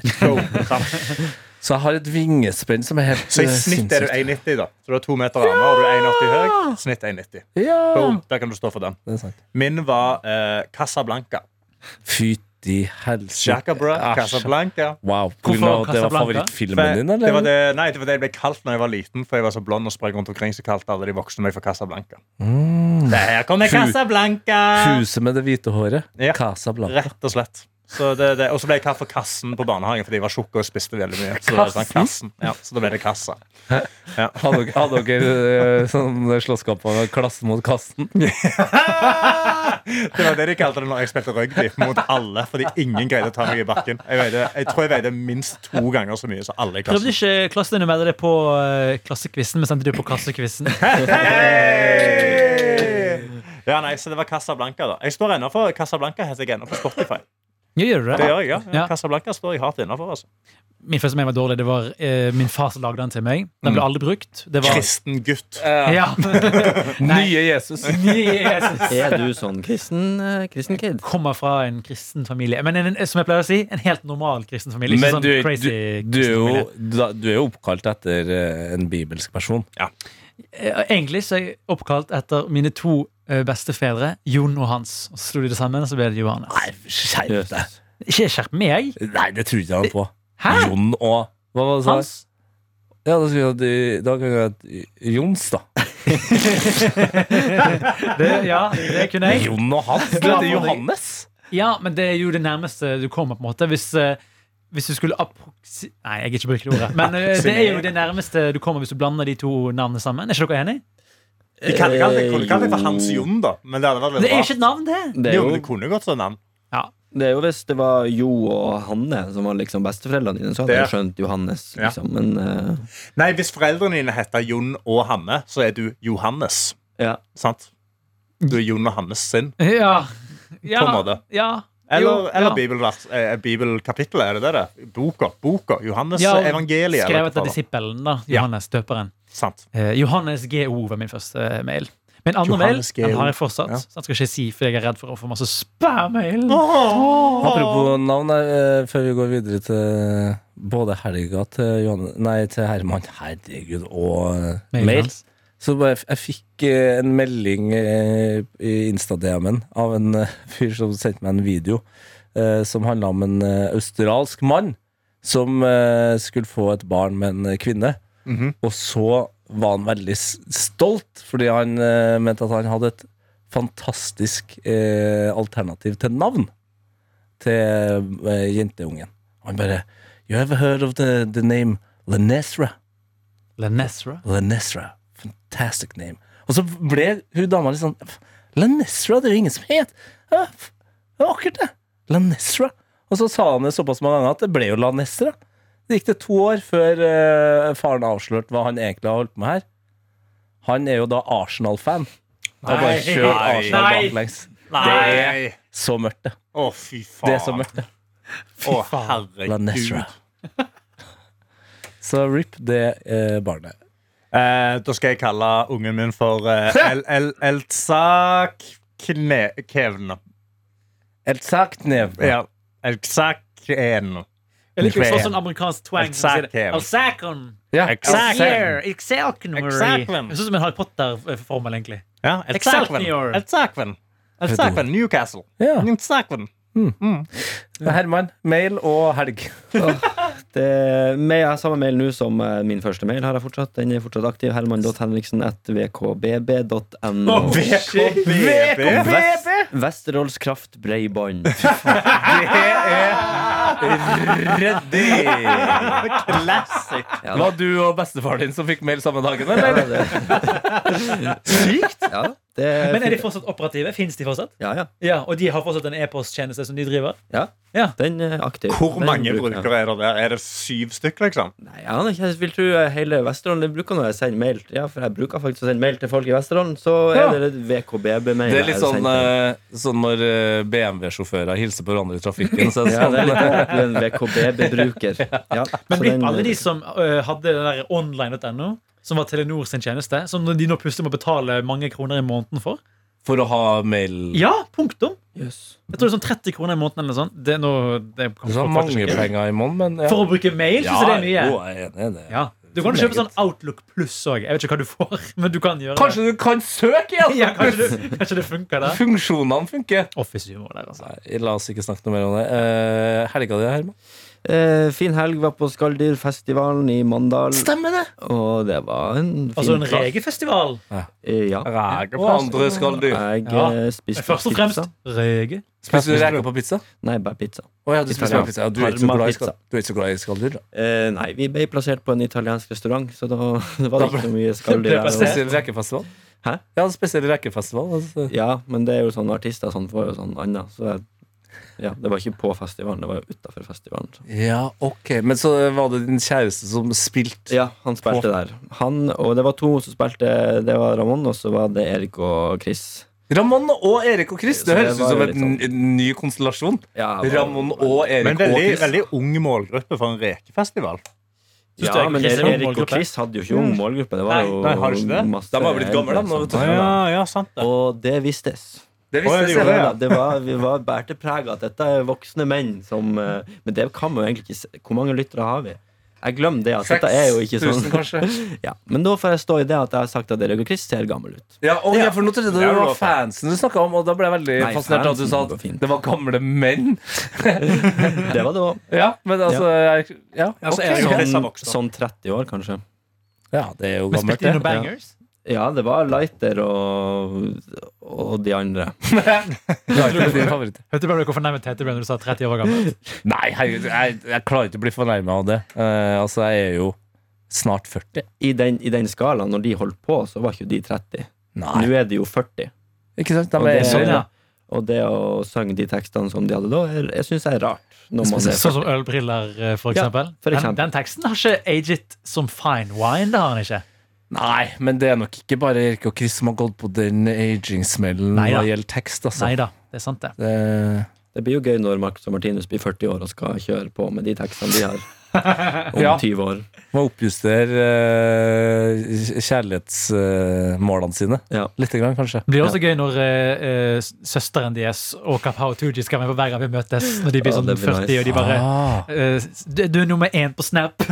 Så jeg har et vingespenn som er helt
Sånn. Så i
eh,
snitt er du 1,90, da. Så du har to meter armer, og du er 1,80 høy. Snitt 1,90.
Ja!
Boom. Der kan du stå for den.
Det er sant.
Min var eh, Casablanca.
Fytti helsike.
Jacabra,
Æsj.
Casablanca.
Wow. På grunn av at det var
Casablanca?
favorittfilmen din, eller?
det var det, nei, det var det jeg ble kalt når jeg var liten, for jeg var så blond og sprang rundt omkring, så kalte alle de voksne meg for Casablanca. Der kommer
Mm. Hu-
Casablanca!
Huset med det hvite håret.
Ja.
Casa Blanca.
Rett og slett. Så det, det. Og så ble jeg kalt for Kassen på barnehagen fordi jeg var tjukk og spiste veldig mye. Så, det var sånn, kassen. Ja, så da ble det Kassa.
Hadde dere, hadde dere eh, sånn slåsskamp av klassen mot kassen?
Det var det de kalte det når jeg spilte rugby mot alle, fordi ingen greide å ta meg i bakken. Jeg, veide, jeg tror jeg veide minst to ganger så mye som alle i
Prøvde
klassen.
ikke klassen din å melde deg på eh, klassekvissen, men sendte du på kassekvissen?
Hey! Ja, nei, så det var Casablanca, da. Jeg står ennå for Casablanca heter jeg ennå på Spotify.
Ja, gjør du det?
Det gjør jeg, ja.
Ja.
Casablanca står jeg hardt innafor. Altså.
Min første som jeg var dårlig, det var eh, min far som lagde den til meg. Den
Mm.
ble aldri brukt. Det var,
Kristen gutt.
ja.
Nye Jesus.
Jesus.
Er du sånn kristen, eh, kristen kid?
Kommer fra en kristen familie. Men en, en, som jeg pleier å si, en helt normal kristen familie. Ikke
Men
sånn
du, du, du,
crazy
er
kristen
jo,
familie.
da- du er jo oppkalt etter eh, en bibelsk person.
Eh, Egentlig så er jeg oppkalt etter mine to eh, bestefedre, Jon og Hans. Og så slo de det sammen, og så ble det Johannes.
Nei, skjerp deg!
Ikke skjerp meg!
Nei, det trodde jeg han på.
Hæ?
Jon og Hva var det du
Hans?
sa? Ja, da skulle jeg hatt- da kunne jeg hatt Jons, da.
Det, ja, det kunne jeg.
Jon og Hans? Det
Glad
er
for deg.
Johannes!
Ja, men det er jo det nærmeste du kommer, på en måte. Hvis, eh, hvis du skulle aproksi... Nei, jeg har ikke brukt det ordet. Men eh, det er jo det nærmeste du kommer hvis du blander de to navnene sammen. Er ikke dere enig?
De kaller det
Eh,
kaller- kaller det for
jo.
Hans Jon, da. Men det hadde vært
Det
litt
er jo ikke
rart.
et navn, det!
Det er
Jo, sånn men
jo,
det kunne godt vært navn.
det er jo hvis det var Jo og Hanne som var liksom besteforeldrene dine, så hadde
Det-
jeg skjønt Johannes,
Ja.
liksom. Men eh,
Nei, hvis foreldrene dine heter Jon og Hanne, så er du Johannes.
ja.
Sant? Du er Jon og Hannes sin,
Ja. ja.
på en måte.
Ja.
Eller,
Jo, ja.
eller bibelvers, eh, bibelkapittelet, er det det det? er? Boka. boka, Johannes
Ja, og
evangeliet. eller
Skrevet
hva
av
det var.
disippelen, da.
Ja.
Johannes døperen.
Sant.
Eh, Johannes GO var min første eh, mail. Min andre
Johannes
mail den
GO.
har jeg fortsatt.
Ja.
Så den skal jeg ikke si, for jeg er redd for å få masse spam-mail.
Apropos navn, her, eh, før vi går videre til eh, både helga til Johanne, Nei, til Herman, herregud, og eh,
Mailen
mail.
hans.
Så bare, f- jeg fikk eh, en melding eh, i Insta-DM-en av en eh, fyr som sendte meg en video eh, som handla om en eh, australsk mann som eh, skulle få et barn med en eh, kvinne. Og så var han veldig s- stolt, fordi han eh, mente at han hadde et fantastisk eh, alternativ til navn til eh, jenteungen. Han bare You ever heard of the, the name Lenesra?
Lenesra.
Lenesra. Fantastic name. Og så ble hun dama litt sånn "F- Lenesra, det er jo ingen som het Ja, f- Det var akkurat det. Lenesra. Og så sa han det såpass mange ganger at det ble jo Lanesra. Det gikk det to år før eh, faren avslørte hva han egentlig har holdt på med her. Han er jo da Arsenal-fan. Og bare
Nei.
kjører Arsenal
Nei.
baklengs.
Nei!
Så mørkt, det.
Å, fy faen.
Det er så mørkt, det.
Å,
faen.
Lanesra.
herregud.
Så rip det eh, barnet.
Eh, da skal jeg kalle ungen min for eh, El El Elsa Kne Kevn.
Helt sagt, Nev.
Ja. Elsa Kven.
Jeg liker jo sånn amerikansk twang. som sier det.
Exactly.
Alsacon.
Ja.
Alsier. Excelcnor.
Exactly.
Sånn som en Harry Potter-formel, egentlig.
Ja, Elsa Kven.
Excelsior.
Elsa Kven. Elsa Kven, Newcastle.
Ja.
Elsa Kven.
Herman, mail og helg.
Det, med, jeg har samme mail nå som eh, min første mail har jeg fortsatt. Den er fortsatt aktiv. Herman.henriksen at vkbb.no.
VKB.
Vest, Vesterålens Kraft Breiband.
Classic.
Ja.
Var du og bestefaren din som fikk mail samme dagen, eller?
Sykt! Ja, det,
Men er de fortsatt operative? Fins de fortsatt?
ja, ja.
Ja, Og de har fortsatt en e-posttjeneste som de driver?
ja.
Ja.
Den er aktiv.
Hvor
Den
mange
bruker jeg.
brukere er det der? Er det syv stykk, liksom?
Nei, jeg aner ikke. Jeg vil tro hele Vesterålen det bruker når jeg sender mail. Ja, for jeg bruker faktisk å sende mail til folk i Vesterålen, så
Ja.
er det VKBB-mail.
Det er litt sånn, eh, sånn når eh, BMW-sjåfører hilser på hverandre i trafikken. Så er det
ja,
sånn,
det er litt sånn at du er en VKBB-bruker. Ja,
Men
så
blir
den- eh,
alle de som ø, hadde den der online.no, som var Telenor sin tjeneste, som de nå plutselig må betale mange kroner i måneden for?
for å ha mail
Ja, punktum!
Jøss.
Jeg tror det er sånn 30 kroner i måneden eller sånn. Det er noe, det kan
Det er sånn
folk
mange
faktisk ikke-
penger i måneden, men ja.
For å bruke mail syns jeg det er mye.
jo, jeg er enig i det.
Ja. Du kan jo kjøpe sånn Outlook pluss òg. Jeg vet ikke hva du får, men du kan gjøre det.
Kanskje du kan søke igjen!
Ja, kanskje, du- kanskje det funker der.
Funksjonene funker.
Office-humor der, altså.
Nei, la oss ikke snakke noe mer om det. Eh, helga di, Herman?
Eh, fin helg var på Skalldyrfestivalen i Mandal,
Stemmer det!
og det var en fin
Altså en
plass.
regefestival.
Eh, Ja.
Og andre skal du.
Jeg
Ja.
eh, spiste
Men først og fremst
pizza.
rege.
Spiser du reker på pizza?
Nei, bare pizza.
Å ja, du spiser
Italia.
bare pizza. Ja, du er ikke så glad i skal-
Parma-pizza.
du er ikke så glad i skalldyr, da.
Eh, nei, vi ble plassert på en italiensk restaurant, så da det var
Da
det ikke så mye skalldyr
ble plassert.
der.
Spesiell rekefestival?
Hæ?
Ja, spesiell rekefestival. Altså.
Ja, men det er jo sånn artister sånn får jo sånn annet. Så jeg, ja, det var ikke på festivalen, det var jo utafor festivalen. Så.
Ja, ok Men så var det din kjæreste som spilte
Ja, han spilte der. Han, og det var to som spilte. Det var Ramón, og så var det Erik og Chris.
Ramón og Erik og Chris. Det
Så det
høres ut
var
som
jo
en
litt
n- ny konstellasjon.
Ja, det var-
Ramón og Erik
Men veldig,
og Chris.
veldig ung målgruppe for en rekefestival.
Synes du
Ja,
Erik
men
Chris er ung
Erik og
målgruppe?
Chris hadde jo ikke ung målgruppe. Det var
Nei,
jo
nei, har de ikke det?
masse
De har blitt gamle, de, nå, vet du.
eldre som-
ja, sant det.
Og det vistes.
Det
Å, ja,
visste
det
jeg
gjorde
selv.
det.
Ja, da, det var, vi var bærte preg av at dette er voksne menn som eh, Men det kan man jo egentlig ikke se. Hvor mange lyttere har vi? Jeg glemmer det. at dette er jo ikke
6000
sånn
kanskje.
ja, Men da får jeg stå i det at jeg har sagt at Erik og Chris ser gammel ut.
Ja, og jeg for nå trodde jeg det
Ja, det
var
var
fansen du snakka om, og da ble jeg veldig
Nei,
fascinert av at du sa
fansen var
at
fint.
det var gamle menn.
Det var det òg.
Ja, men altså jeg, ja,
Altså,
ok.
Erik og Chris har
Sånn,
vokst opp.
sånn 30 år, kanskje.
ja, det er jo
Men
gammelt,
spilte de noen
det.
bangers?
Ja, det var Lighter og, og de andre.
Ja, det er din favoritt.
Hørte du bare hvor fornærmet Tete ble når du sa 30 år gammel?
Nei, herregud, jeg, jeg klarer ikke å bli fornærma av det. Eh, altså, jeg er jo snart 40.
I den, I den skalaen, når de holdt på, så var ikke de 30.
Nei.
Nå er de jo 40.
Ikke sant? De
Og
er
det-
Sånn, ja.
Og det å synge de tekstene som de hadde da, er- jeg syns jeg er rart. Når man er
Sånn som ølbriller, eh, for
Ja,
eksempel.
for
Den,
eksempel.
den teksten har ikke aget som fine wine. Det har han ikke.
Nei, men det er nok ikke bare Erik og Chris som har gått på den aging-smellen
Nei da.
hva gjelder tekst, altså.
Nei da, det er sant, det.
Det,
Det blir jo gøy når Marcus og Martinus blir 40 år og skal kjøre på med de tekstene de har om
Ja.
20 år.
må oppjustere eh, kjærlighetsmålene sine.
Ja.
Lite grann, kanskje.
Det blir også gøy når eh, eh, s- søsteren deres og Kapow Tooji skal være med på hver gang vi møtes. Når de blir
Ja,
sånn
det blir
40, og de bare
Ah.
eh, s- du, du er nummer én på Snap!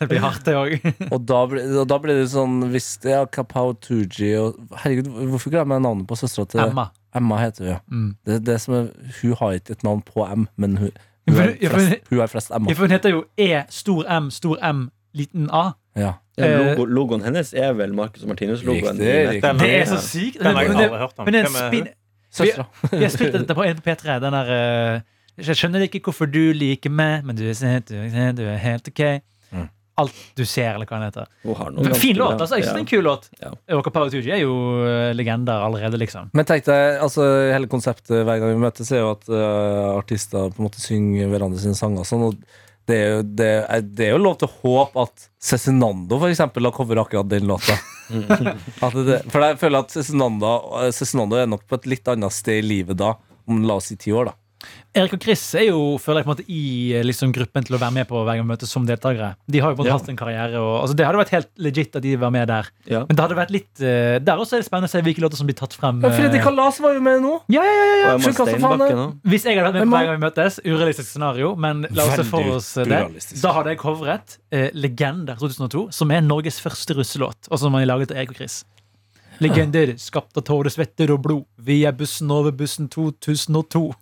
det blir hardt, det òg.
Og da, ble, og da ble det sånn hvis det er Kapow Tooji og Herregud, hvorfor glemmer jeg navnet på søstera til
Emma.
Emma heter hun, ja.
Mm.
Det, det som er, hun har ikke et navn på M, men hun,
Ja,
hun,
for
er,
du- ja, for-
flest, hun er flest
Ja,
Emma.
for hun heter jo E stor M stor M liten A.
Ja.
Ja, men
Eh,
logo, logoen hennes er vel Marcus og Martinus-logoen.
Riktig,
i-
riktig.
Det er
Ja.
så sykt!
Den har jeg
Men det-
aldri hørt om.
men det er en
Hvem er
spin...
Søstera.
Vi har spilt dette på en på P3. Den der eh, Jeg skjønner ikke hvorfor du liker meg, men du er, helt- du er, du er helt OK.
Mm.
Alt du ser, eller hva den heter.
Hun har noe
Men
ganske
Fin
bra.
låt, altså. Jeg synes det er en
Ja.
kul låt.
Ja.
Og Kapow Tooji er jo eh, legender allerede, liksom.
Men tenk deg, altså hele konseptet hver gang vi møtes, er jo at øh, artister på en måte synger hverandre sine sanger. og Sånn, og det er, jo, det, er, det er jo lov til å håpe at Cezinando for eksempel har coveret akkurat den låta. at det, for jeg føler at Cezinando, Cezinando er nok på et litt annet sted i livet da, om la oss si ti år, da.
Erik og Chris er jo, føler jeg, på en måte i eh, liksom, gruppen til å være med på hver gang vi møtes som deltakere. De har jo på en måte
Ja.
hatt en karriere. Og, altså, det hadde vært helt legit at de var med der.
Ja.
Men det hadde vært litt eh, Der også er det spennende å se hvilke låter som blir tatt frem.
Men Freddy
eh,
Kalas var jo med nå!
ja, ja, ja, ja.
Og Emma
Skjønner hva som faen
Steinbakke
er-
nå.
Hvis jeg hadde vært med
Men
på
man-
hver gang vi møtes, urealistisk scenario, men la oss se for
Veldig
oss det.
urealistisk.
Da hadde jeg covret eh, Legender 2002, som er Norges første russelåt, og som man har laget av Erik og Chris. Legender skapt av tårer, svetter og blod. Vi er bussen over bussen 2002.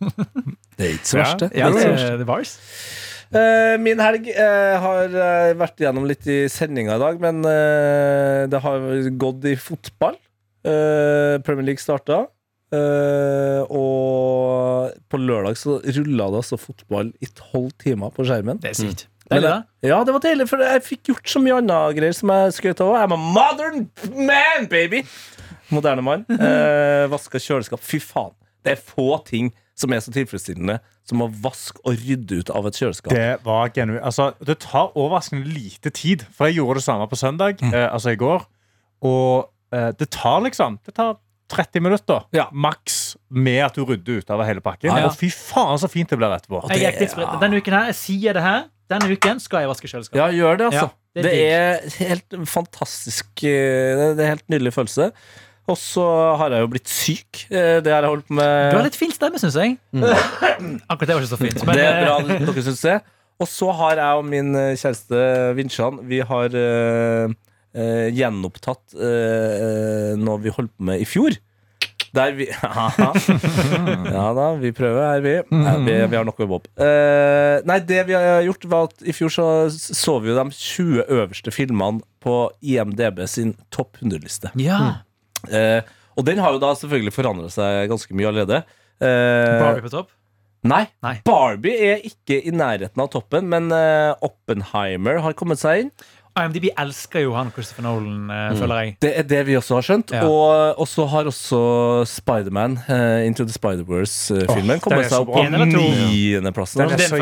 Det er ikke så
Ja,
verst, det.
Ja,
det, er
det,
ikke så verst.
det var oss.
Eh, Min helg eh, har eh, vært gjennom litt i sendinga i dag, men eh, det har gått i fotball. Eh, Premier League starta. eh, og på lørdag så rulla det altså fotball i tolv timer på skjermen.
Det er sykt.
Mm. Men
Deilig, da.
Ja, det var deilig, for jeg fikk gjort så mye annet greier som jeg skrøt av. I'm a modern man, baby! Moderne mann. Eh, vaska kjøleskap. Fy faen. Det er få ting som er så tilfredsstillende som å vaske og rydde ut av et kjøleskap.
Det var genu... Altså, det tar overraskende lite tid, for jeg gjorde det samme på søndag, eh, altså i går. Og eh, det tar liksom Det tar 30 minutter
Ja.
maks med at du rydder ut av hele pakken.
Ja, ja.
Og fy faen, så fint det blir etterpå.
Og
Jeg er
det-
tidsfri- Denne uken her, jeg sier det her. Denne uken skal jeg vaske kjøleskapet.
Ja, gjør det, altså. det,
Ja, det
er
er
helt fantastisk eh, Det er en helt nydelig følelse. Og så har jeg jo blitt syk. eh, Det har jeg holdt på
Du har
med.
litt fin stemme, syns jeg. Akkurat det var ikke så fint. Men,
Mm. Det er bra
eh,
at dere syns det. Og så har jeg og min eh, kjæreste Vinsjan Vi har eh, eh, gjenopptatt eh, eh, noe vi holdt på med i fjor. Der vi Ja da, vi prøver her, vi. Nei, vi, vi har nok å jobbe opp. Eh, nei, det vi har gjort, var at i fjor så, så vi jo de 20 øverste filmene på IMDb sin topp 100-liste.
ja.
Eh, og den har jo da selvfølgelig forandra seg ganske mye allerede. Eh,
Barbie på topp.
Nei.
Nei.
Barbie er ikke i nærheten av toppen, men eh, Oppenheimer har kommet seg inn.
IMDb elsker jo han Christopher Nolan, eh,
Mm.
føler jeg.
Det er det vi også har skjønt.
Ja.
Og, og så har også Spiderman, uh, Into the Spider-Verse-filmen, kommet
den er så
seg opp på
bra.
En eller to?
niendeplassen.
Den er så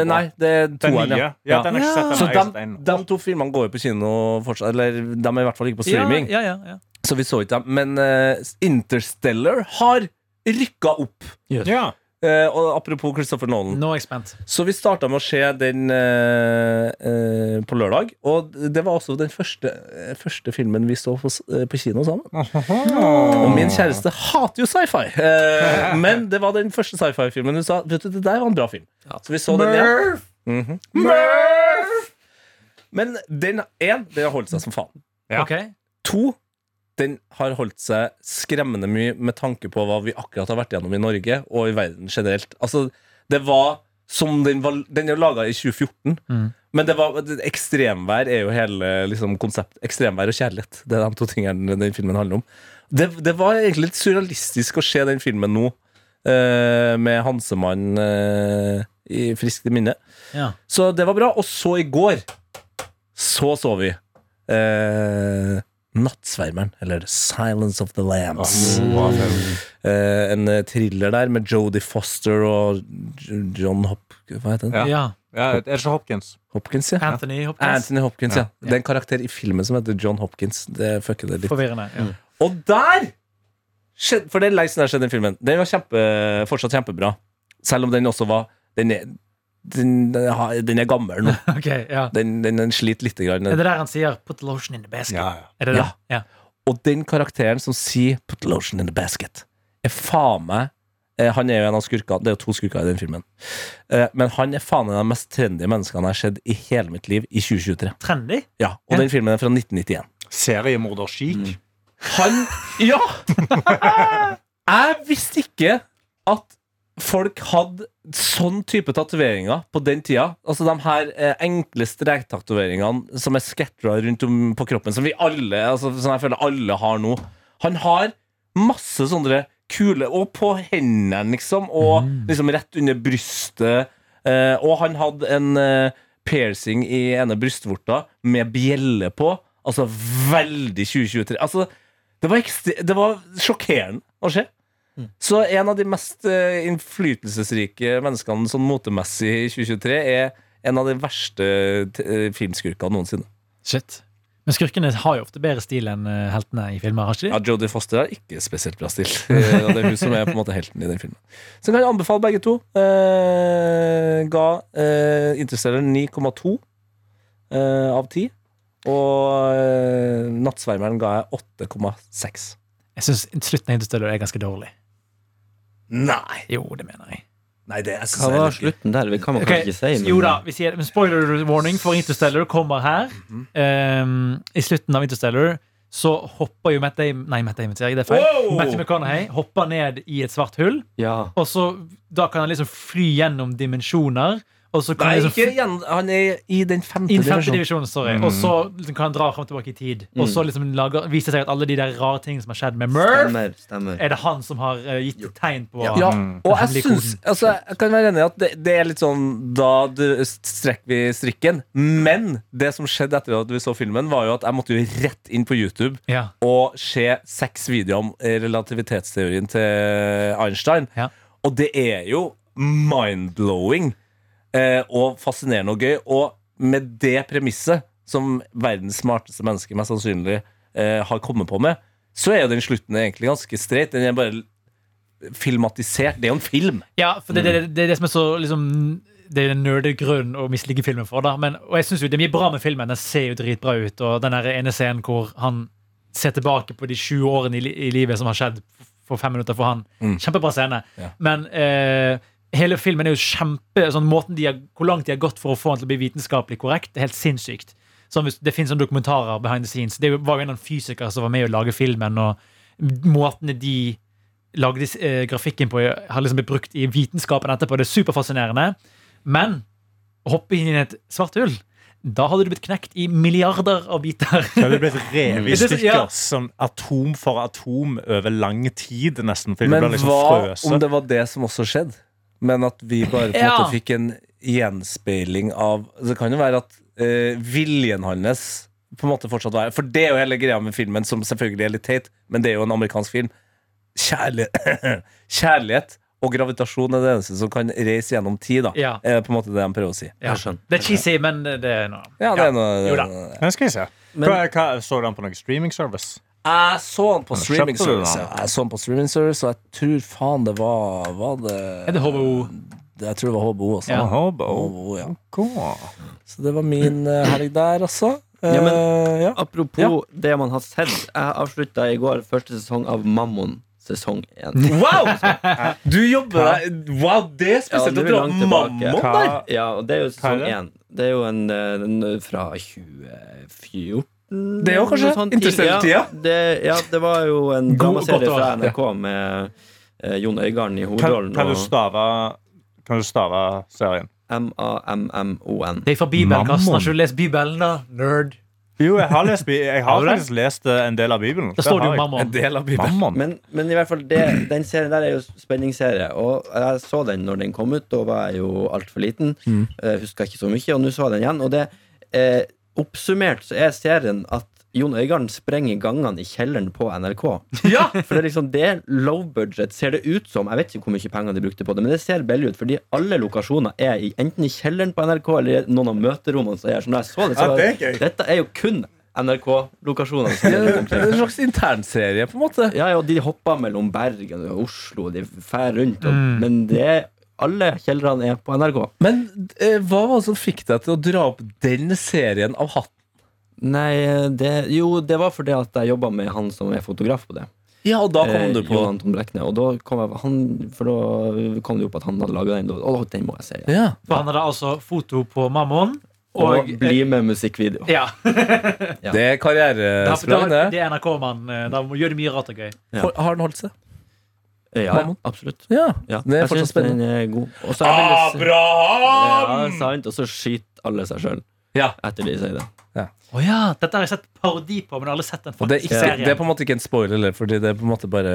Eh, Nei, det er
Den
toeren,
nye.
ja.
Ja, den har jeg
Ja.
ikke sett. Den altså.
Så
har jeg
de,
sett den.
de to filmene går jo på kino fortsatt. Eller de er i hvert fall ikke på streaming.
Ja, ja, ja, ja.
Så vi så ikke dem. Men eh, Interstellar har rykka opp.
Ja.
Eh, og apropos Christopher Nolan.
Nå er jeg spent.
Så vi starta med å se den eh, eh, på lørdag. Og det var også den første, eh, første filmen vi så på, s- eh, på kino sammen. Og min kjæreste hater jo sci-fi. Eh, men det var den første sci-fi-filmen hun sa Vet du, det der var en bra film. Så vi så den igjen. Mhm. Men den én, den har holdt seg som faen.
Ja.
Ok.
To, den har holdt seg skremmende mye med tanke på hva vi akkurat har vært gjennom i Norge og i verden generelt. Altså, det var som den var Den er laga i 2014,
Mm.
men det var det- ekstremvær er jo hele liksom, konseptet. Ekstremvær og kjærlighet. Det er de to tingene den filmen handler om. Det, det var egentlig litt surrealistisk å se den filmen nå, eh, med Hansemann eh, i friskt i minne.
Ja.
Så det var bra. Og så i går så så vi eh, Nattsvermeren, eller Silence of the Lambs. Eh, en eh, thriller der med Jodie Foster og J- John Hop Hva heter den?
Ja.
ja.
Ja, er det ikke Hopkins?
Hopkins, ja.
Anthony Hopkins.
Anthony Hopkins, ja. Det er en karakter i filmen som heter John Hopkins. Det fucker det litt.
Forvirrende.
Mm.
Ja.
Og der skjedde, For det er lenge siden det har skjedd i den filmen. Den var kjempe, fortsatt kjempebra. Selv om den også var Den er, den, den har- den er gammel nå.
Ok, ja.
Den, den, den sliter lite grann.
Er det der han sier 'put lotion in the basket'? Er det det?
Mm. Ja. Og den karakteren som sier 'put lotion in the basket', er faen meg eh, Han er jo en av skurkene. Det er jo to skurker i den filmen. Eh, Men han er faen meg en av de mest trendy menneskene jeg har sett i hele mitt liv i 2023.
Trendy?
Ja, Og den filmen er fra 1991.
Seriemorder Chic.
Mm. Han Ja! Jeg visste ikke at folk hadde sånn type tatoveringer på den tida. Altså de her eh, enkle strektatoveringene som er skettra rundt om på kroppen, som vi alle altså, som jeg føler alle har nå. Han har masse sånne kule Og på hendene, liksom. Og liksom rett under brystet. Eh, og han hadde en eh, piercing i ene brystvorta med bjelle på. Altså veldig 2023. Altså, det var, ekstre- det var sjokkerende å se. Så en av de mest eh, innflytelsesrike menneskene sånn motemessig i 2023 er en av de verste eh, filmskurkene noensinne.
Shit. Men skurkene har jo ofte bedre stil enn eh, heltene i filmer, har ikke de?
Ja, Jodie Foster er ikke spesielt bra stilt. Eh, Og det er hun som er på en måte helten i den filmen. Så kan jeg anbefale begge to. Eh, ga eh, Interstellar 9,2 eh, av 10. Og eh, Nattsvermeren ga jeg 8,6.
Jeg synes slutten av Interstellar er ganske dårlig.
Nei!
Jo, det mener jeg.
Nei, det jeg synes
Hva
jeg
var
liker.
slutten der? Vi kan man
Ok,
kanskje ikke si. men-
jo da, vi sier det, men spoiler warning for Interstellar kommer her.
Mhm.
Um, I slutten av Interstellar så hopper jo Matt Damon Nei, Matt Damon, sier jeg. Det er feil.
Wow!
Matthew McConaughey hopper ned i et svart hull,
Ja.
og så da kan han liksom fly gjennom dimensjoner. Og så kan
Nei,
han liksom
ikke igjen. Han er i den femte,
I den femte
divisjonen.
divisjonen, sorry. Og så liksom kan han dra frem og tilbake i tid.
Mm.
Og så liksom lager, viser det seg at alle de der rare tingene som har skjedd med Murph,
Stemmer. stemmer
er det han som har eh, gitt tegn på. Mm.
Ja, og
Den
jeg
hemmelige koden.
syns altså, Jeg kan være enig i at det, det er litt sånn Da du- strekker vi strikken. Men det som skjedde etter at vi så filmen, var jo at jeg måtte jo rett inn på YouTube
Ja.
og se seks videoer om relativitetsteorien til Einstein.
Ja.
Og det er jo mind-blowing eh, og fascinerende og gøy. Og med det premisset, som verdens smarteste menneske mest sannsynlig eh, har kommet på med, så er jo den slutten egentlig ganske streit. Den er bare filmatisert. Det er jo en film.
Ja, for det, det, det, det er det som er så liksom, Det er den nerde grunnen å mislike filmen for. Da. Men, og jeg synes jo det er mye bra med filmen. Den ser jo dritbra ut. Og den der ene scenen hvor han ser tilbake på de 20 årene i, li i livet som har skjedd f- for fem minutter for han. Kjempebra scene.
Ja.
Men eh, hele filmen er jo kjempe sånn, måten de har, Hvor langt de har gått for å få han til å bli vitenskapelig korrekt, det er helt sinnssykt. Sånn, hvis- det finnes sånne dokumentarer behind the scenes. Det var jo en av fysikere som var med å lage filmen, og måtene de lagde eh, grafikken på, har liksom blitt brukt i vitenskapen etterpå. Det er superfascinerende. Men å hoppe inn i et svart hull, da hadde du blitt knekt i milliarder av biter.
Det hadde blitt revet i
Det er så-
stykker
ja.
sånn atom for atom over lang tid, nesten. For det
Men
ble liksom
hva om
frøset.
det var det som også skjedde? Men at vi bare på en
Ja.
måte fikk en gjenspeiling av Det kan jo være at eh, viljen hans på en måte fortsatt var her. For det er jo hele greia med filmen, som selvfølgelig er litt teit, men det er jo en amerikansk film. Kjærlighet, Kjærlighet og gravitasjon er det eneste som kan reise gjennom tid, da.
Ja.
Er på en måte det de prøver å si.
Ja. Det er cheesy, men det er noe.
Ja, det er noe
Jo da.
Men skal vi se. Hva, hva, så du den på noen streaming service?
Jeg så han på streaming
kjøpte du den?
service, ja. Jeg så han på streaming service og jeg tror faen det var, var det,
Er det HBO?
Jeg tror det var HBO også.
Ja.
Hobo.
HBO, ja.
Gå.
Så det var min eh, helg der, altså. Eh,
Ja,
ja.
Apropos det man har sett. Jeg avslutta i går første sesong av Mammon sesong én.
Wow! Du jobber der Wow, det er
Ja,
spesielt at
nå er
du
vi
har
langt
mammon
tilbake.
der!
Hva-
Ja, og det er jo sesong
Hva er
én. Det er jo en, eh, den fra 2014
Det er jo kanskje
noe sånt tidlig.
Interstellar-tida.
Ja, det- ja, det var jo en
God-
dramaserie
godt år.
fra NRK med eh, Jon Øigarden i
Kan,
hovedrollen.
kan, du
Og
stave, kan du stave serien?
M-A-M-M-O-N.
Det er fra Bibelen,
Mammon.
Karsten. Har ikke du lest Bibelen, da? Nerd.
Jo, jeg har, lest, bi- jeg har
Har du det?
faktisk lest eh, en del av Bibelen.
Da står det
har
jo
jeg.
En
Mammon.
del av Bibelen.
Mammon.
Men, men i hvert fall det, den serien der er jo spenningsserie. Og jeg så den når den kom ut. Da var jeg jo altfor liten.
Mm.
Eh, Huska ikke så mye. Og nå så jeg den igjen. Og det eh, oppsummert så er serien at Jon Øigarden sprenger gangene i kjelleren på NRK.
Ja!
For det er liksom det low budget ser det ut som. Jeg vet ikke hvor mye penger de brukte på det, men det ser billig ut, fordi alle lokasjoner er i, enten i kjelleren på NRK eller i noen av møterommene som er her. Så når jeg så det, så
Ja,
var
det er gøy.
dette er jo kun NRK-lokasjoner. som er rundt
Det
omkring.
er en slags internserie, på en måte.
Ja, ja, de hopper mellom Bergen og Oslo, de fær rundt, og, men det er, alle kjellerne er på NRK.
Men eh, hva var det som fikk deg til å dra opp den serien av hatten?
Nei, det, jo, det var fordi at jeg jobba med han som er fotograf på det.
Ja, og da
Eh,
kom du på
Jon Anton Brekne. Og da kom, jeg, han, for da kom det opp at han hadde laga den. Og den må jeg se. Ja.
Ja.
For han hadde altså foto på Mammon.
Og,
Og, eh,
bli med musikkvideo.
Ja.
Det er
Da,
Ja.
da,
karrieresprang, det.
det er NRK-mann. eh, Da må- gjør det mye rart og gøy.
Ja.
Har har den holdt seg?
Ja, ja, absolutt.
Ja.
Ja.
Det er
jeg
fortsatt Ah,
syns den er god. Og så er det litt- Ja,
Abraham!
sant, og så skyter alle seg sjøl
Ja.
etter de sier det.
Å ja, Dette har jeg sett parodi på, men jeg har aldri sett den
Og det er,
faktiske
ikke,
serien.
det er på en måte ikke en spoiler, eller, fordi det er på en måte bare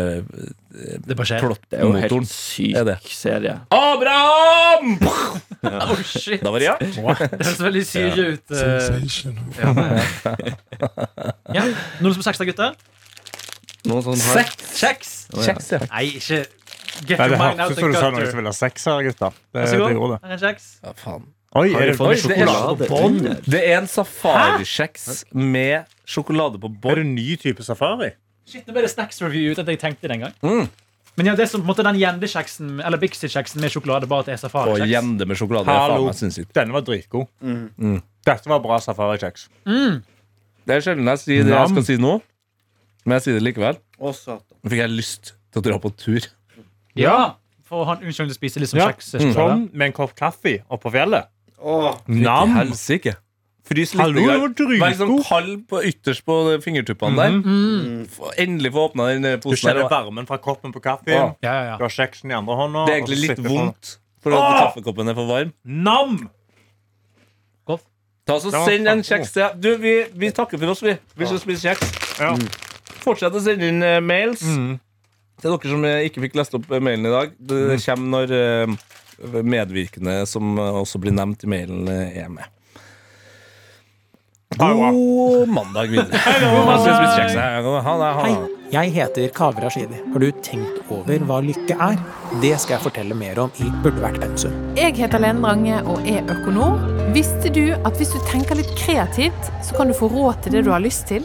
Det bare skjer.
plott
Det er jo
motoren.
helt syk
Er det.
serie.
Abraham!
Oh, shit.
Da var det ja.
Det høres veldig syre ut. eh. Ja, ja. ja. Noen som sexer, gutter?
Noen sånn har
Sex, sex, sex, ja.
Nei, ikke Get
Nei,
your
det
mind out
hørtes ut som
and
du sa noen
culture.
som ville ha sex her, gutter. Det,
Vær så
det
god.
gjorde det.
Her er en kjeks.
ja faen.
Oi, er det,
Oi, det
oi,
er,
sjokolade på
bånd.
bånd?
det er en safarisjeks med sjokolade på
er
bånn.
det en ny type safari?
Shit, nå ble det snacks review uten at jeg tenkte det engang.
Mm.
Men ja, det er som på en måte den gjendekjeksen Eller Bixie-kjeksen med sjokolade, bare at det er
Og
safarikjeks.
gjende med sjokolade. Det er faen
Hallo.
meg sinnssykt.
Denne var dritgod. Mm. Dette var bra safarikjeks.
Det er sjelden jeg sier det jeg skal si nå, men jeg sier det likevel.
Å, satan.
Nå fikk jeg lyst til å dra på tur.
Ja, for han unnskyld å spise litt som
Ja.
kjeks. sjokolade.
Sånn med en kopp kaffe oppå fjellet.
Åh.
Nam.
Helsike. Frys litt.
Hallo, det var
Vær sånn
dritgod.
kald på, ytterst på fingertuppene der. Få- Endelig få åpna den eh,
Du
posen der.
kjenner
og-
varmen fra koppen på
Ja.
kaffen.
Ja, ja,
Du
ja.
har kjeksen i andre hånda.
Det er
og så
egentlig litt
sitter sånn. du på-
vondt for at
Åh!
kaffekoppen er for varm.
Nam!
Godt.
Ta så
Det var
Send en
faktisk
kjeks til Du, vi, vi takker for oss, vi. Vi skal spise kjeks.
Ja.
Fortsett å sende inn eh, mails
Mm.
til dere som eh, ikke fikk lest opp eh, mailen i dag. Det
Mm.
kommer når eh, medvirkende, som eh, også blir nevnt i mailen, eh, er med.
Ha det bra.
God mandag videre. Jeg skal spise kjeks. Ha det. Ha
Hei,
det.
jeg heter Kaveh Rashidi. Har du tenkt over hva lykke er? Det skal jeg fortelle mer om i Burde vært pensum.
Jeg heter Lene Drange og er økonom. Visste du at hvis du tenker litt kreativt, så kan du få råd til det du har lyst til?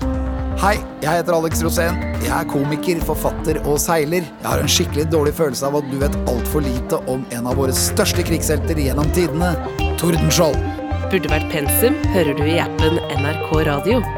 Hei, jeg heter Alex Rosén. Jeg er komiker, forfatter og seiler. Jeg har en skikkelig dårlig følelse av at du vet altfor lite om en av våre største krigshelter gjennom tidene, Tordenskjold.
Burde vært pensum hører du i appen NRK Radio.